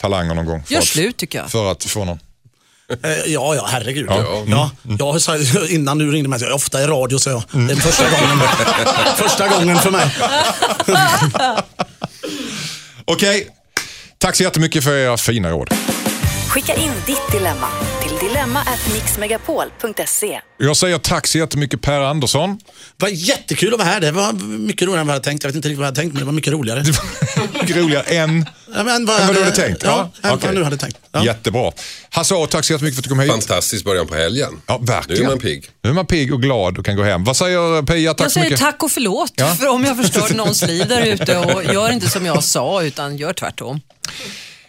talanger någon gång? för
Gör
att-
slut tycker jag.
För att få någon?
Eh, Ja, ja, herregud. Ja. Ja. Jag sa, (laughs) innan du ringde mig, så jag är ofta i radio, så jag. Det är första (laughs) gången, första gången för mig.
Okej, tack så jättemycket för era fina råd.
Skicka in ditt dilemma till dilemma@mixmegapol.se.
Jag säger tack så jättemycket Per Andersson.
Det var jättekul att vara här. Det var mycket roligare än vad jag hade tänkt. Jag vet inte riktigt vad jag hade tänkt, men det var mycket roligare.
(laughs) Mycket roligare än...
Ja, men
Än
jag
vad du hade tänkt?
Ja,
Ja,
än vad
okej.
jag nu hade tänkt. Ja.
Jättebra. Hasse Aro, tack så jättemycket för att du kom hit.
Fantastisk början på helgen.
Ja, verkligen.
Nu är man pigg.
Nu är man pigg och glad och kan gå hem. Vad säger Pia? Tack
jag
så
säger
mycket.
tack och förlåt
Ja.
för om jag
(laughs)
förstörde någons liv där ute och gör inte som jag sa utan gör tvärtom.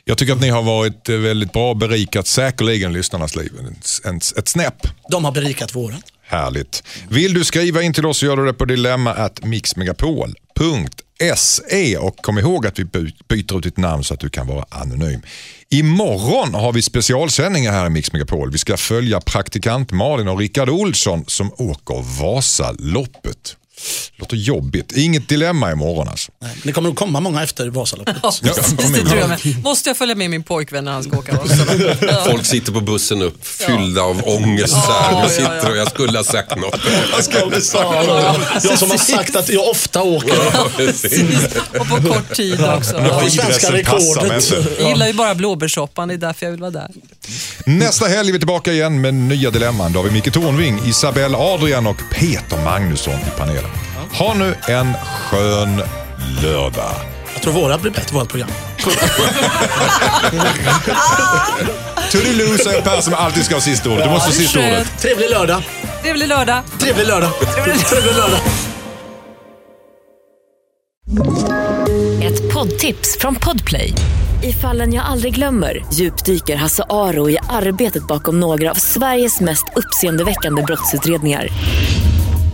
Jag tycker att ni har varit eh, väldigt bra och berikat säkerligen lyssnarnas liv. En, en, ett snäpp.
De har berikat våren.
Härligt. Vill du skriva in till oss så gör du det på dilemma.mixmegapol.se och kom ihåg att vi by- byter ut ditt namn så att du kan vara anonym. Imorgon har vi specialsändningar här i Mix Megapol. Vi ska följa praktikant Malin och Rickard Olsson som åker Vasaloppet. Låter jobbigt. Inget dilemma imorgon alltså.
Nej, Det kommer att komma många efter Vasaloppet.
Ja, precis,
kom
det
igen.
tror jag med. Måste jag följa med min pojkvän när han ska
(laughs)
åka Vasaloppet? Ja.
Folk sitter på bussen upp fyllda av ångest. Så
Ja,
här.
ja,
Nu sitter
ja.
och jag skulle ha sagt något.
Jag som har sagt att jag ofta åker.
Ja, precis.
Precis. Och på kort tid också.
Ja, det svenska
Ingressen passar med
rekordet.
sig.
Jag gillar ju bara blåbärssoppan, det är därför jag vill vara där.
Nästa helg är vi tillbaka igen med nya dilemman. Då har vi Micke Tornving, Isabelle Adrian och Peter Magnusson i panelen. Ha nu en skön lördag.
Jag tror våra blir bättre, vårt program.
Toodiloo säger Per som alltid ska ha sista ordet. Du måste ha sista ordet.
Trevlig lördag.
Trevlig lördag.
Trevlig lördag. Trevlig lördag.
Ett poddtips från Podplay. I fallen jag aldrig glömmer djupdyker Hasse Aro i arbetet bakom några av Sveriges mest uppseendeväckande brottsutredningar.